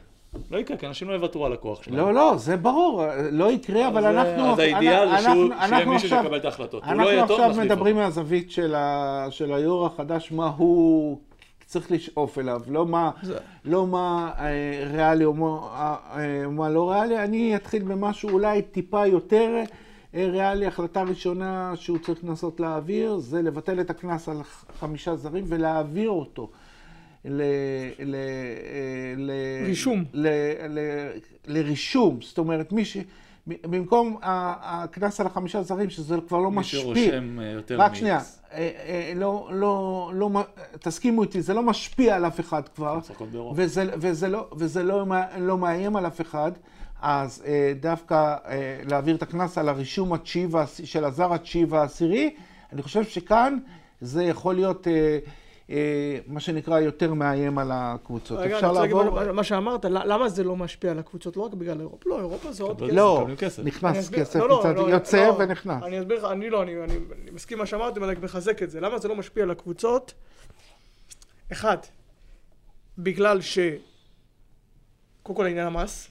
[SPEAKER 3] לא יקרה, כי אנשים לא יוותרו על הכוח שלהם.
[SPEAKER 1] לא, לא, זה ברור, לא יקרה, אבל
[SPEAKER 3] אז,
[SPEAKER 1] אנחנו...
[SPEAKER 3] אז האידיאל זה
[SPEAKER 1] אנחנו-
[SPEAKER 3] שהוא- שיהיה
[SPEAKER 1] אנחנו
[SPEAKER 3] מישהו
[SPEAKER 1] עכשיו-
[SPEAKER 3] שיקבל את ההחלטות. הוא לא
[SPEAKER 1] אנחנו
[SPEAKER 3] יהיה טוב,
[SPEAKER 1] עכשיו
[SPEAKER 3] נחליף
[SPEAKER 1] מדברים
[SPEAKER 3] אותו.
[SPEAKER 1] מהזווית של ה- של היו"ר החדש, מה הוא צריך לשאוף אליו, לא מה...
[SPEAKER 2] זה-
[SPEAKER 1] לא מה אה, ריאלי או מה, אה, אה, מה לא ריאלי, אני אתחיל במשהו אולי טיפה יותר אה, ריאלי. החלטה ראשונה שהוא צריך לנסות להעביר, זה לבטל את הקנס על ח- חמישה זרים ולהעביר אותו. ל... ל... אה, ל...
[SPEAKER 2] רישום.
[SPEAKER 1] ל... ל... לרישום, זאת אומרת, מי ש... במקום ה- הקנס על החמישה זרים, שזה כבר לא
[SPEAKER 3] מי
[SPEAKER 1] משפיע.
[SPEAKER 3] שרושם אה, יותר
[SPEAKER 1] רק
[SPEAKER 3] מ-X.
[SPEAKER 1] שנייה, אה, אה, לא, לא, לא, מ- תסכימו איתי, זה לא משפיע על אף אחד כבר,
[SPEAKER 3] משחקות באירופה.
[SPEAKER 1] וזה, וזה, לא, וזה לא, מא- לא מאיים על אף אחד, אז אה, דווקא אה, להעביר את הקנס על הרישום התשיעי והעש- של הזר התשיעי והעשירי, אני חושב שכאן זה יכול להיות אה, אה, מה שנקרא יותר מאיים על הקבוצות.
[SPEAKER 2] רגע, אני
[SPEAKER 1] אפשר
[SPEAKER 2] רוצה להגיד
[SPEAKER 1] לעבור...
[SPEAKER 2] מה- מה שאמרת, למה זה לא משפיע על הקבוצות? לא רק בגלל אירופה. לא, אירופה זה עוד
[SPEAKER 3] אבל-
[SPEAKER 2] כסף.
[SPEAKER 1] לא,
[SPEAKER 3] מקבלים כסף.
[SPEAKER 2] אני
[SPEAKER 1] נכנס
[SPEAKER 2] אסביר-
[SPEAKER 1] כסף,
[SPEAKER 2] לא, לא,
[SPEAKER 1] מצד-
[SPEAKER 2] לא,
[SPEAKER 1] יוצא
[SPEAKER 2] לא.
[SPEAKER 1] ונכנס.
[SPEAKER 2] אני אסביר לך, אני לא, אני אני- אני מסכים מה שאמרתם, אני רק מחזק את זה. למה זה לא משפיע על הקבוצות? אחד, בגלל ש... קודם כל עניין המס.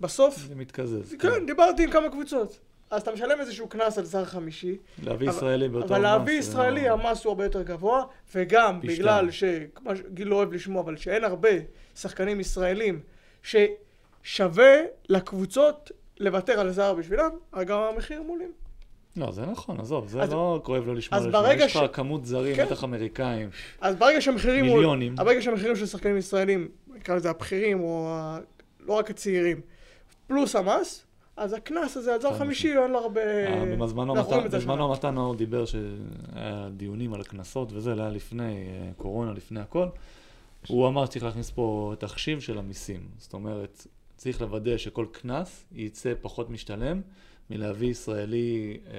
[SPEAKER 2] בסוף,
[SPEAKER 3] זה מתקזז.
[SPEAKER 2] כן, דיברתי עם כמה קבוצות. אז אתה משלם איזשהו קנס על זר חמישי,
[SPEAKER 3] להביא
[SPEAKER 2] אבל-
[SPEAKER 3] ישראלי באותו
[SPEAKER 2] אבל
[SPEAKER 3] מס,
[SPEAKER 2] להביא
[SPEAKER 3] זה
[SPEAKER 2] ישראלי אמ-
[SPEAKER 3] לא-
[SPEAKER 2] המס הוא הרבה יותר גבוה, וגם
[SPEAKER 3] פי
[SPEAKER 2] בגלל
[SPEAKER 3] שתיים.
[SPEAKER 2] שכמו שגיל לא אוהב לשמוע, אבל שאין הרבה שחקנים ישראלים ששווה לקבוצות לוותר על זר בשבילם, אז גם המחיר מולים.
[SPEAKER 3] לא, זה נכון, עזוב, זה
[SPEAKER 2] אז-
[SPEAKER 3] לא כואב לו לשמוע.
[SPEAKER 2] אז
[SPEAKER 3] לשמוע.
[SPEAKER 2] ברגע
[SPEAKER 3] יש לך
[SPEAKER 2] ש-
[SPEAKER 3] כמות זרים,
[SPEAKER 2] כן.
[SPEAKER 3] בטח אמריקאים.
[SPEAKER 2] אז ברגע שהמחירים... הוא-
[SPEAKER 3] מיליונים.
[SPEAKER 2] ברגע שהמחירים של שחקנים ישראלים, נקרא לזה הבכירים, או ה- לא רק הצעירים, פלוס המס, אז הקנס הזה על זר חמישי אין לו הרבה...
[SPEAKER 3] אה, בזמנו
[SPEAKER 2] אנחנו רואים
[SPEAKER 3] מתן-
[SPEAKER 2] את זה השנה.
[SPEAKER 3] בזמנו מתן נאור דיבר שהיה דיונים על הקנסות וזה, זה היה לפני אה, קורונה, לפני הכל. הוא אמר שצריך להכניס פה תחשיב של המיסים. זאת אומרת, צריך לוודא שכל קנס יצא פחות משתלם מלהביא ישראלי, אה,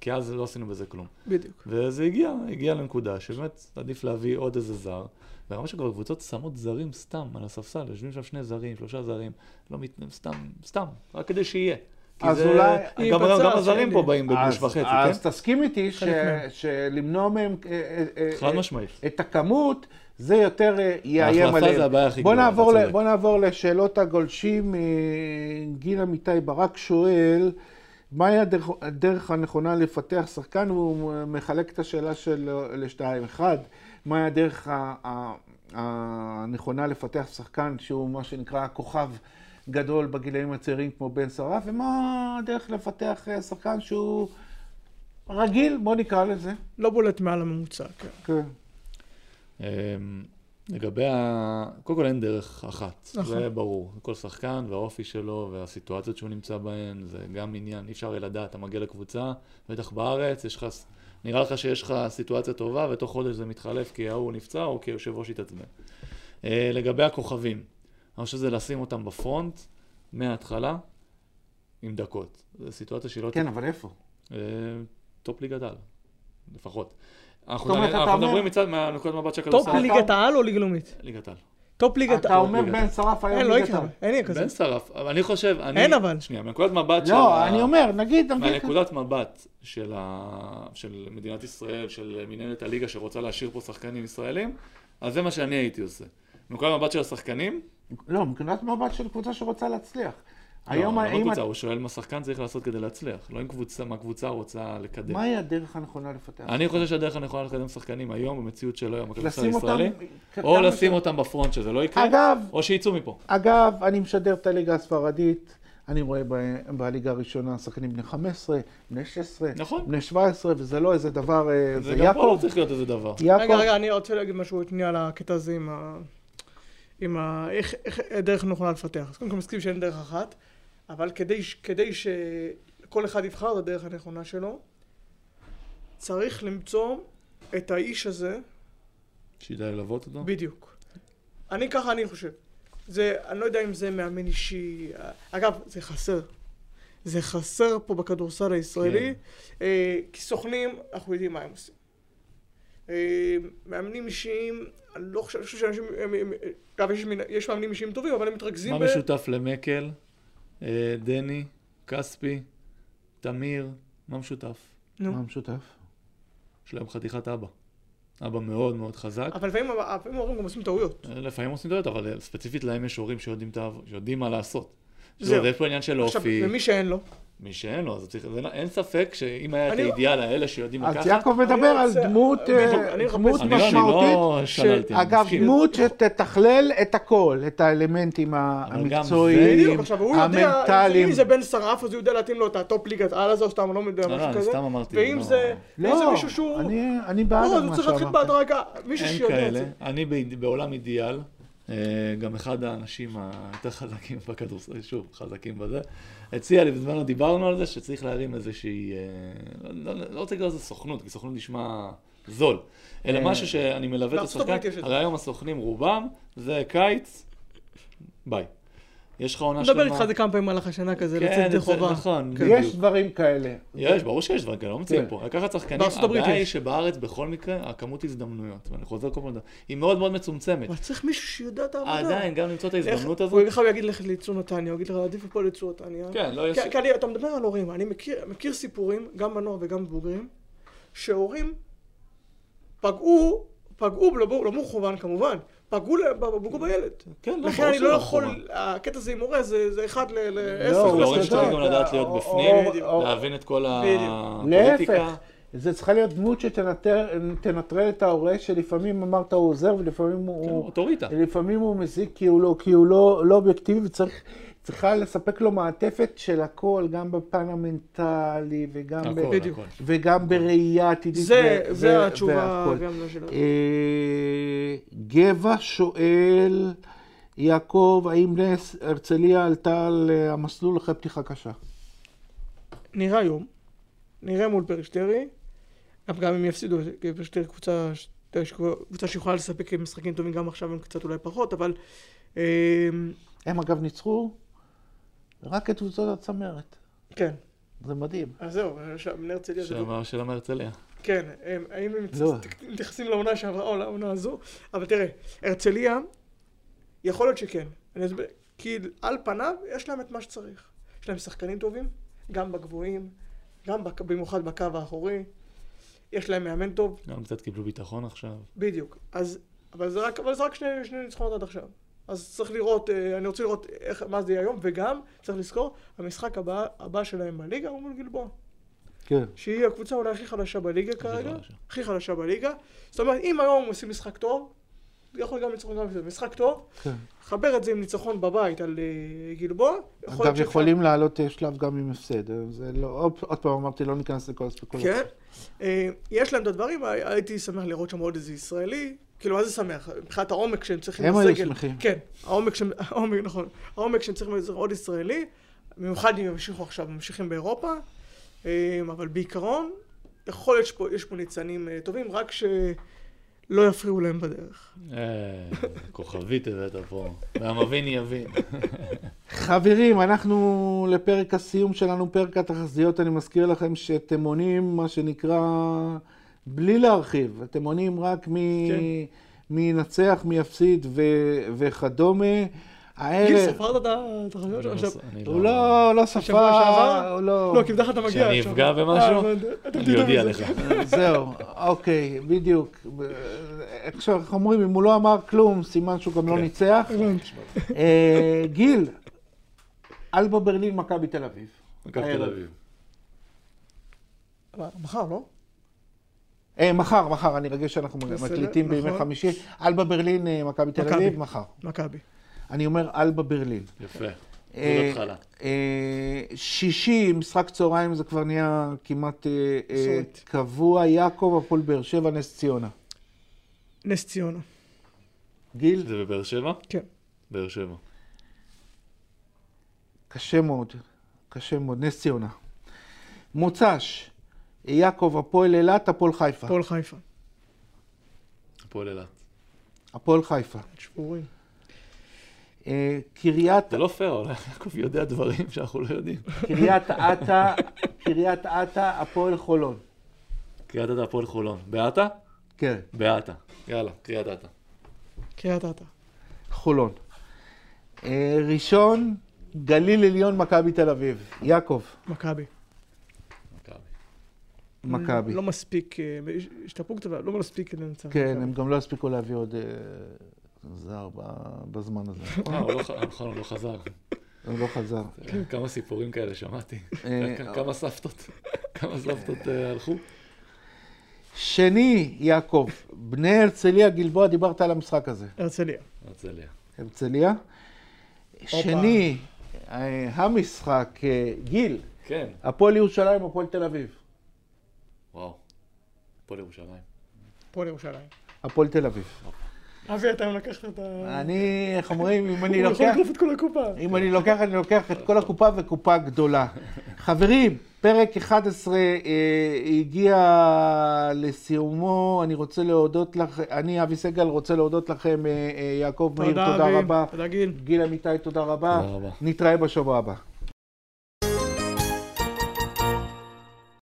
[SPEAKER 3] כי אז לא עשינו בזה כלום.
[SPEAKER 2] בדיוק.
[SPEAKER 3] וזה הגיע, הגיע לנקודה שבאמת עדיף להביא עוד איזה זר. ברמה שכבר קבוצות שמות זרים סתם על הספסל, יושבים שם שני זרים, שלושה זרים, לא מת... סתם, סתם, רק כדי שיהיה. כי
[SPEAKER 1] אז
[SPEAKER 3] זה-
[SPEAKER 1] אולי-
[SPEAKER 3] גם,
[SPEAKER 2] אם
[SPEAKER 3] גם,
[SPEAKER 2] בצד,
[SPEAKER 3] גם הזרים
[SPEAKER 2] שאלה.
[SPEAKER 3] פה באים בגוש
[SPEAKER 1] אז-
[SPEAKER 3] וחצי,
[SPEAKER 1] אז
[SPEAKER 3] כן?
[SPEAKER 1] תסכים איתי ש-
[SPEAKER 2] מהם.
[SPEAKER 1] שלמנוע מהם... אה, אה, אה,
[SPEAKER 3] חד
[SPEAKER 1] אה,
[SPEAKER 3] משמעית.
[SPEAKER 1] את הכמות, זה יותר אה, יאיים
[SPEAKER 3] ההחלפה
[SPEAKER 1] עליהם.
[SPEAKER 3] זה הבעיה הכי
[SPEAKER 1] בוא
[SPEAKER 3] גדולה,
[SPEAKER 1] נעבור,
[SPEAKER 3] אתה
[SPEAKER 1] ל,
[SPEAKER 3] צודק.
[SPEAKER 1] בוא נעבור לשאלות הגולשים. אה, גיל אמיתי ברק שואל, מהי הדרך, הדרך הנכונה לפתח שחקן? והוא מחלק את השאלה שלו לשתיים. אחד, מהי הדרך ה- ה- הנכונה לפתח שחקן שהוא מה שנקרא כוכב גדול בגילאים הצעירים כמו בן שרף? ומה הדרך לפתח אה, שחקן שהוא רגיל, בוא נקרא לזה.
[SPEAKER 2] לא בולט מעל הממוצע, כן.
[SPEAKER 1] כן.
[SPEAKER 3] אמ, לגבי ה... קודם כל אין דרך אחת,
[SPEAKER 2] נכון.
[SPEAKER 3] זה ברור. כל שחקן והאופי שלו והסיטואציות שהוא נמצא בהן, זה גם עניין, אי אפשר יהיה לדעת, אתה מגיע לקבוצה, בטח בארץ, יש לך... ס- נראה לך שיש לך סיטואציה טובה, ותוך חודש זה מתחלף כי ההוא נפצע או כי היושב ראש התעצבן. אה, לגבי הכוכבים, אני חושב שזה לשים אותם בפרונט מההתחלה עם דקות. זו סיטואציה שהיא לא...
[SPEAKER 1] כן, אבל איפה?
[SPEAKER 3] אה, טופ ליגת העל, לפחות.
[SPEAKER 1] זאת
[SPEAKER 3] אנחנו
[SPEAKER 1] אומרת, אתה
[SPEAKER 3] אנחנו
[SPEAKER 1] אומר-
[SPEAKER 3] מדברים מצד, מהנקודת מבט של
[SPEAKER 2] טופ
[SPEAKER 3] הכדורסל.
[SPEAKER 2] ליגת העל או ליגה לאומית?
[SPEAKER 3] ליגת העל.
[SPEAKER 2] טופ ליגת
[SPEAKER 1] אתה אה,
[SPEAKER 2] העל.
[SPEAKER 1] אומר בן שרף היום
[SPEAKER 2] אין, לא
[SPEAKER 1] ליגת
[SPEAKER 2] יקרה,
[SPEAKER 1] העל.
[SPEAKER 2] אין יהיה כן, כזה.
[SPEAKER 3] בן שרף, אבל אני חושב, אני...
[SPEAKER 2] אין אבל.
[SPEAKER 3] שנייה, מנקודת מבט של...
[SPEAKER 1] לא,
[SPEAKER 3] ה-
[SPEAKER 1] אני אומר, כן, נגיד, נגיד,
[SPEAKER 3] מהנקודת מבט של, ה... של מדינת ישראל, של מנהלת הליגה שרוצה להשאיר פה שחקנים ישראלים, אז זה מה שאני הייתי עושה. מנקודת מבט של השחקנים,
[SPEAKER 1] לא, מנקודת מבט של קבוצה שרוצה להצליח. היום,
[SPEAKER 3] היום לא, לא
[SPEAKER 1] האם...
[SPEAKER 3] קבוצה, הוא שואל מה שחקן צריך לעשות כדי להצליח, לא אם קבוצה, מה קבוצה רוצה לקדם.
[SPEAKER 1] מהי הדרך הנכונה לפתח?
[SPEAKER 3] אני חושב שהדרך הנכונה לקדם שחקנים היום, במציאות של היום, הכדורסל
[SPEAKER 1] לשים אותם...
[SPEAKER 3] הישראלי,
[SPEAKER 1] כמה
[SPEAKER 3] או
[SPEAKER 1] ש-
[SPEAKER 3] לשים אותם בפרונט שזה לא יקרה,
[SPEAKER 1] אגב,
[SPEAKER 3] או שיצאו מפה.
[SPEAKER 1] אגב, אני משדר את הליגה הספרדית, אני רואה ב- בליגה הראשונה שחקנים בני 15, בני 16,
[SPEAKER 3] נכון.
[SPEAKER 1] בני 17, וזה לא איזה דבר, אה, כן, זה
[SPEAKER 3] זה גם פה לא
[SPEAKER 1] יעקב.
[SPEAKER 3] צריך להיות איזה דבר.
[SPEAKER 1] יעקב,
[SPEAKER 2] רגע, רגע, אני רוצה להגיד משהו שנייה על הקטע הזה עם ה... עם ה... איך, איך הדרך נכונה לפתח. אז קודם כל מסכים שאין דרך אחת, אבל כדי, ש- כדי שכל אחד יבחר את הדרך הנכונה שלו, צריך למצוא את האיש הזה
[SPEAKER 3] שידע ללוות אותו.
[SPEAKER 2] בדיוק. אני ככה אני חושב. זה, אני לא יודע אם זה מאמן אישי, אגב, זה חסר. זה חסר פה בכדורסל הישראלי,
[SPEAKER 3] כן.
[SPEAKER 2] אה, כי סוכנים, אנחנו יודעים מה הם עושים. אה, מאמנים אישיים, אני לא חושב, אני חושב שאנשים, הם- הם- אגב, יש, מנ- יש מאמנים אישיים טובים, אבל הם מתרכזים
[SPEAKER 3] מה
[SPEAKER 2] ב...
[SPEAKER 3] משותף למקל אה, דני, כספי, תמיר, מה משותף?
[SPEAKER 1] מה
[SPEAKER 2] נו.
[SPEAKER 1] המשותף?
[SPEAKER 3] יש להם חתיכת אבא. אבא מאוד מאוד חזק. אה,
[SPEAKER 2] אבל לפעמים לפעמים ההורים גם עושים טעויות.
[SPEAKER 3] לפעמים עושים טעויות, אבל ספציפית להם יש הורים שיודעים, את העב- שיודעים מה לעשות.
[SPEAKER 2] זהו.
[SPEAKER 3] זהו. יש פה עניין של
[SPEAKER 2] עכשיו,
[SPEAKER 3] אופי.
[SPEAKER 2] ומי שאין לו,
[SPEAKER 3] מי שאין לו, אז צריך... זה לא- אין ספק שאם היה את
[SPEAKER 2] אני- לא-
[SPEAKER 3] האידיאל האלה שיודעים לקחת...
[SPEAKER 1] אז יעקב
[SPEAKER 2] אני
[SPEAKER 1] מדבר על
[SPEAKER 2] רוצה-
[SPEAKER 1] דמות אה,
[SPEAKER 2] בדיוק, אני מחפש-
[SPEAKER 1] דמות
[SPEAKER 3] אני לא, אני
[SPEAKER 1] משמעותית.
[SPEAKER 3] לא שללתי, אני
[SPEAKER 1] אגב,
[SPEAKER 3] מסכים.
[SPEAKER 1] דמות שתתכלל את הכל, את האלמנטים ה-
[SPEAKER 3] אבל גם
[SPEAKER 1] המקצועיים,
[SPEAKER 2] בדיוק, עכשיו הוא יודע,
[SPEAKER 1] המנטליים.
[SPEAKER 2] אם זה בן שרף אז הוא יודע להתאים לו את הטופ ליגת על הזה, או סתם לא יודע,
[SPEAKER 3] לא, לא,
[SPEAKER 2] משהו
[SPEAKER 3] אני
[SPEAKER 2] כזה.
[SPEAKER 3] סתם אמרתי,
[SPEAKER 2] ואם
[SPEAKER 3] לא.
[SPEAKER 2] זה, ואם זה
[SPEAKER 1] לא,
[SPEAKER 2] מישהו שהוא,
[SPEAKER 1] אני- אני בעד
[SPEAKER 2] לא, אז
[SPEAKER 1] מה
[SPEAKER 2] הוא צריך להתחיל
[SPEAKER 1] שאמרת.
[SPEAKER 2] בהדרגה, מישהו
[SPEAKER 3] אין
[SPEAKER 2] שיודע את
[SPEAKER 3] כאלה.
[SPEAKER 2] זה.
[SPEAKER 3] אני באיד- בעולם אידיאל, אה, גם אחד האנשים היותר חזקים בכדורסל, שוב, חזקים בזה, הציע לי, בזמנו דיברנו על זה, שצריך להרים איזושהי, אה, לא לא- לא רוצה לקרוא לזה סוכנות, כי סוכנות נשמע זול, אלא משהו שאני מלווה את
[SPEAKER 2] אה, בארצות
[SPEAKER 3] השחקן,
[SPEAKER 2] הברית יש את זה.
[SPEAKER 3] הרי היום הסוכנים רובם, זה קיץ, ביי. יש לך עונה שלמה.
[SPEAKER 2] מדבר איתך זה כמה פעמים במהלך השנה כזה,
[SPEAKER 3] כן,
[SPEAKER 2] לצאת ידי
[SPEAKER 3] זה-
[SPEAKER 2] חובה. כן.
[SPEAKER 3] נכון, בדיוק.
[SPEAKER 1] כן. יש דברים כאלה.
[SPEAKER 3] יש, ברור שיש דברים כאלה, לא ממציאים
[SPEAKER 1] כן.
[SPEAKER 3] פה. לקחת שחקנים,
[SPEAKER 2] בארצות הברית
[SPEAKER 3] הבעיה
[SPEAKER 2] יש.
[SPEAKER 3] היא שבארץ בכל מקרה, הכמות הזדמנויות, ואני חוזר כל פעם, היא מאוד מאוד מצומצמת.
[SPEAKER 2] אבל צריך מישהו שיודע את העבודה.
[SPEAKER 3] עדיין, גם למצוא את
[SPEAKER 2] אה, לא. איך-
[SPEAKER 3] ההזדמנות
[SPEAKER 2] הוא
[SPEAKER 3] הזאת.
[SPEAKER 2] יגיד לך, הוא יגיד לך לייצור נתניה, הוא יגיד לך, עדיף פה לייצור נתניה.
[SPEAKER 3] כן, לא יש...
[SPEAKER 2] כי- כי אני- אתה מדבר על הורים, אני מכיר- מכיר סיפורים, גם בנוער וגם בבוגרים, שהורים פגעו, פגעו, לא בור- לא במכוון כמובן, פגעו ל- פגעו בילד.
[SPEAKER 3] כן, לא,
[SPEAKER 2] לכן
[SPEAKER 3] ברור
[SPEAKER 2] אני לא
[SPEAKER 3] שלא
[SPEAKER 2] יכול,
[SPEAKER 3] מכוון.
[SPEAKER 2] הקטע הזה עם מורה זה זה אחד ל-
[SPEAKER 1] לא,
[SPEAKER 2] לעשר.
[SPEAKER 1] הוא
[SPEAKER 3] להורים
[SPEAKER 1] אתה
[SPEAKER 3] שצריך
[SPEAKER 1] יודע,
[SPEAKER 3] גם לדעת להיות
[SPEAKER 1] או-
[SPEAKER 3] בפנים,
[SPEAKER 1] או- או-
[SPEAKER 3] להבין את כל
[SPEAKER 2] בדיוק.
[SPEAKER 3] הפוליטיקה.
[SPEAKER 1] להפך, זה צריכה להיות דמות שתנטרל את ההורה שלפעמים אמרת הוא עוזר ולפעמים
[SPEAKER 3] כן,
[SPEAKER 1] הוא...
[SPEAKER 3] אוטוריטה.
[SPEAKER 1] לפעמים הוא מזיק כי הוא לא, כי הוא לא, לא אובייקטיבי וצריך... צריכה לספק לו מעטפת של הכל, גם בפן המנטלי וגם,
[SPEAKER 3] הכל,
[SPEAKER 1] ב...
[SPEAKER 2] בדיוק.
[SPEAKER 3] הכל.
[SPEAKER 1] וגם בראייה עתידית.
[SPEAKER 2] זה
[SPEAKER 1] ו- ו-
[SPEAKER 2] זה התשובה
[SPEAKER 1] והכל.
[SPEAKER 2] גם לשאלה.
[SPEAKER 1] אה, גבע שואל, יעקב, האם נס הרצליה עלתה על אה, המסלול אחרי פתיחה קשה?
[SPEAKER 2] נראה היום, נראה מול פרשטרי, גם גם אם יפסידו, כי פרשטרי קבוצה, ש- אה, קבוצה שיכולה לספק משחקים טובים גם עכשיו, הם קצת אולי פחות, אבל... אמ,
[SPEAKER 1] הם אגב ניצחו רק את קבוצות הצמרת.
[SPEAKER 2] כן,
[SPEAKER 1] זה מדהים.
[SPEAKER 2] אז אה, זהו, שם, בני הרצליה זה...
[SPEAKER 3] שאמר של מהרצליה.
[SPEAKER 2] כן, הם- האם הם
[SPEAKER 1] לא.
[SPEAKER 2] מתייחסים לעונה שעברה או לעונה הזו? אבל תראה, הרצליה, יכול להיות שכן. אני אסביר, כי על פניו יש להם את מה שצריך. יש להם שחקנים טובים, גם בגבוהים, גם בק- במיוחד בקו האחורי. יש להם מאמן טוב,
[SPEAKER 3] גם קצת קיבלו ביטחון עכשיו.
[SPEAKER 2] בדיוק. אז, אבל זה רק, אבל זה רק שני, שני ניצחונות עד עכשיו. אז צריך לראות, אה, אני רוצה לראות איך, מה זה יהיה היום, וגם, צריך לזכור, המשחק הבא, הבא שלהם בליגה הוא מול גלבוע.
[SPEAKER 1] כן.
[SPEAKER 2] שהיא הקבוצה אולי הכי חלשה בליגה כרגע,
[SPEAKER 3] חלשה.
[SPEAKER 2] הכי חלשה בליגה. זאת אומרת, אם היום הם עושים משחק טוב, יכול גם לצחוק גם בזה. משחק טוב,
[SPEAKER 1] כן.
[SPEAKER 2] חבר את זה עם ניצחון בבית על אה, גלבוע. יכול להיות
[SPEAKER 1] אגב,
[SPEAKER 2] שאפשר-
[SPEAKER 1] יכולים לעלות אה, שלב גם עם הפסד. אה, זה לא, עוד- עוד פעם אמרתי, לא ניכנס לכל הספקולציה.
[SPEAKER 2] כן. אה, יש להם את הדברים, הי- הייתי שמח לראות שם עוד איזה ישראלי. כאילו, מה זה שמח? מבחינת העומק שהם צריכים
[SPEAKER 1] הם
[SPEAKER 2] בסגל.
[SPEAKER 1] היו שמחים.
[SPEAKER 2] כן, העומק שהם, העומק, נכון. העומק שהם צריכים לזה עוד ישראלי, במיוחד אם ימשיכו עכשיו, ממשיכים באירופה. אה, אבל בעיקרון, יכול להיות שפה- יש פה ניצנים אה, טובים, רק שלא יפריעו להם בדרך.
[SPEAKER 3] אה, כוכבית הבאת פה. והמבין יבין.
[SPEAKER 1] חברים, אנחנו לפרק הסיום שלנו, פרק התחזיות. אני מזכיר לכם שאתם עונים, מה שנקרא, בלי להרחיב. אתם עונים רק מ...
[SPEAKER 3] כן.
[SPEAKER 1] מי ינצח, מי יפסיד ו... וכדומה.
[SPEAKER 2] גיל,
[SPEAKER 1] הערב...
[SPEAKER 2] ספרת את התחזיות שלך עכשיו?
[SPEAKER 3] אני
[SPEAKER 1] הוא לא, לא ספר,
[SPEAKER 2] בשבוע שעבר?
[SPEAKER 1] הוא לא...
[SPEAKER 2] לא, כי בדרך כלל אתה מגיע.
[SPEAKER 3] כשאני
[SPEAKER 2] עכשיו.
[SPEAKER 3] אפגע במשהו,
[SPEAKER 2] אה, אבל אתם
[SPEAKER 3] אני
[SPEAKER 2] תדעו
[SPEAKER 3] אודיע
[SPEAKER 2] מזה.
[SPEAKER 3] לך.
[SPEAKER 1] זהו, אוקיי, בדיוק. עכשיו, איך אומרים, אם הוא לא אמר כלום, סימן שהוא גם לא
[SPEAKER 3] כן.
[SPEAKER 1] ניצח. אה, גיל, אלבה ברלין, מכבי תל אביב.
[SPEAKER 3] מכבי תל אביב.
[SPEAKER 2] מה, מחר, לא?
[SPEAKER 1] אה, מחר, מחר, אני רגש שאנחנו
[SPEAKER 2] בסדר,
[SPEAKER 1] מקליטים בימי
[SPEAKER 2] נכון.
[SPEAKER 1] חמישי. אלבה ברלין, אה, מכבי תל
[SPEAKER 2] מכבי.
[SPEAKER 1] אביב, מחר.
[SPEAKER 2] מכבי. אני
[SPEAKER 1] אני אומר אלבה ברלין.
[SPEAKER 3] יפה. זאת
[SPEAKER 1] אה,
[SPEAKER 3] לא התחלה.
[SPEAKER 1] אה, שישי, משחק צהריים, זה כבר נהיה כמעט אה, אה,
[SPEAKER 2] מסורת.
[SPEAKER 1] קבוע. יעקב, הפועל באר שבע, נס ציונה.
[SPEAKER 2] נס ציונה.
[SPEAKER 1] גיל,
[SPEAKER 3] זה בבאר שבע?
[SPEAKER 2] כן.
[SPEAKER 3] באר שבע.
[SPEAKER 1] קשה מאוד, קשה מאוד, נס ציונה. מוצ"ש, יעקב, הפועל אילת, הפועל חיפה.
[SPEAKER 2] הפועל חיפה.
[SPEAKER 3] הפועל אילת.
[SPEAKER 1] הפועל חיפה.
[SPEAKER 2] שבורים.
[SPEAKER 1] אה, קריית,
[SPEAKER 3] זה לא פייר, אבל יעקב יודע דברים שאנחנו לא יודעים.
[SPEAKER 1] קריית אתא, קריית אתא, הפועל חולון.
[SPEAKER 3] קריית אתא הפועל חולון. בעטה?
[SPEAKER 1] כן,
[SPEAKER 3] בעטה. יאללה, קריית אתא.
[SPEAKER 2] קריית אתא.
[SPEAKER 1] חולון. אה, ראשון, גליל עליון, מכבי תל אביב. יעקב,
[SPEAKER 2] מכבי.
[SPEAKER 3] מכבי.
[SPEAKER 1] מכבי.
[SPEAKER 2] לא מספיק, אה, השתפרו קצת, אבל לא מספיק לנצח.
[SPEAKER 1] כן,
[SPEAKER 2] מכבי.
[SPEAKER 1] הם גם לא יספיקו להביא עוד אה, זר ב- בזמן הזה.
[SPEAKER 3] אה, הוא לא ח- נכון, הוא לא חזר.
[SPEAKER 1] הוא לא חזר.
[SPEAKER 3] כמה סיפורים כאלה שמעתי.
[SPEAKER 1] אה,
[SPEAKER 3] כמה סבתות, כמה סבתות אה, הלכו.
[SPEAKER 1] שני, יעקב, בני הרצליה גלבוע, דיברת על המשחק הזה.
[SPEAKER 2] הרצליה.
[SPEAKER 3] הרצליה.
[SPEAKER 1] הרצליה. שני, אה, המשחק, אה, גיל,
[SPEAKER 3] כן,
[SPEAKER 1] הפועל ירושלים, הפועל תל אביב.
[SPEAKER 3] וואו. הפועל ירושלים.
[SPEAKER 2] הפועל ירושלים.
[SPEAKER 1] הפועל תל אביב.
[SPEAKER 2] אבי, אתה לקחת את ה...
[SPEAKER 1] אני, איך אומרים, אם אני
[SPEAKER 2] הוא יכול
[SPEAKER 1] לוקח...
[SPEAKER 2] לגרוף את כל הקופה.
[SPEAKER 1] אם אני לוקח, אני לוקח את כל הקופה וקופה גדולה. חברים, פרק 11 אה, הגיע לסיומו. אני רוצה להודות לך, אני, אבי סגל, רוצה להודות לכם, אה, אה, יעקב מאיר, תודה
[SPEAKER 2] אבי.
[SPEAKER 1] רבה.
[SPEAKER 2] תודה, גיל.
[SPEAKER 1] גיל אמיתי, תודה רבה.
[SPEAKER 3] תודה רבה.
[SPEAKER 1] נתראה בשבוע הבא.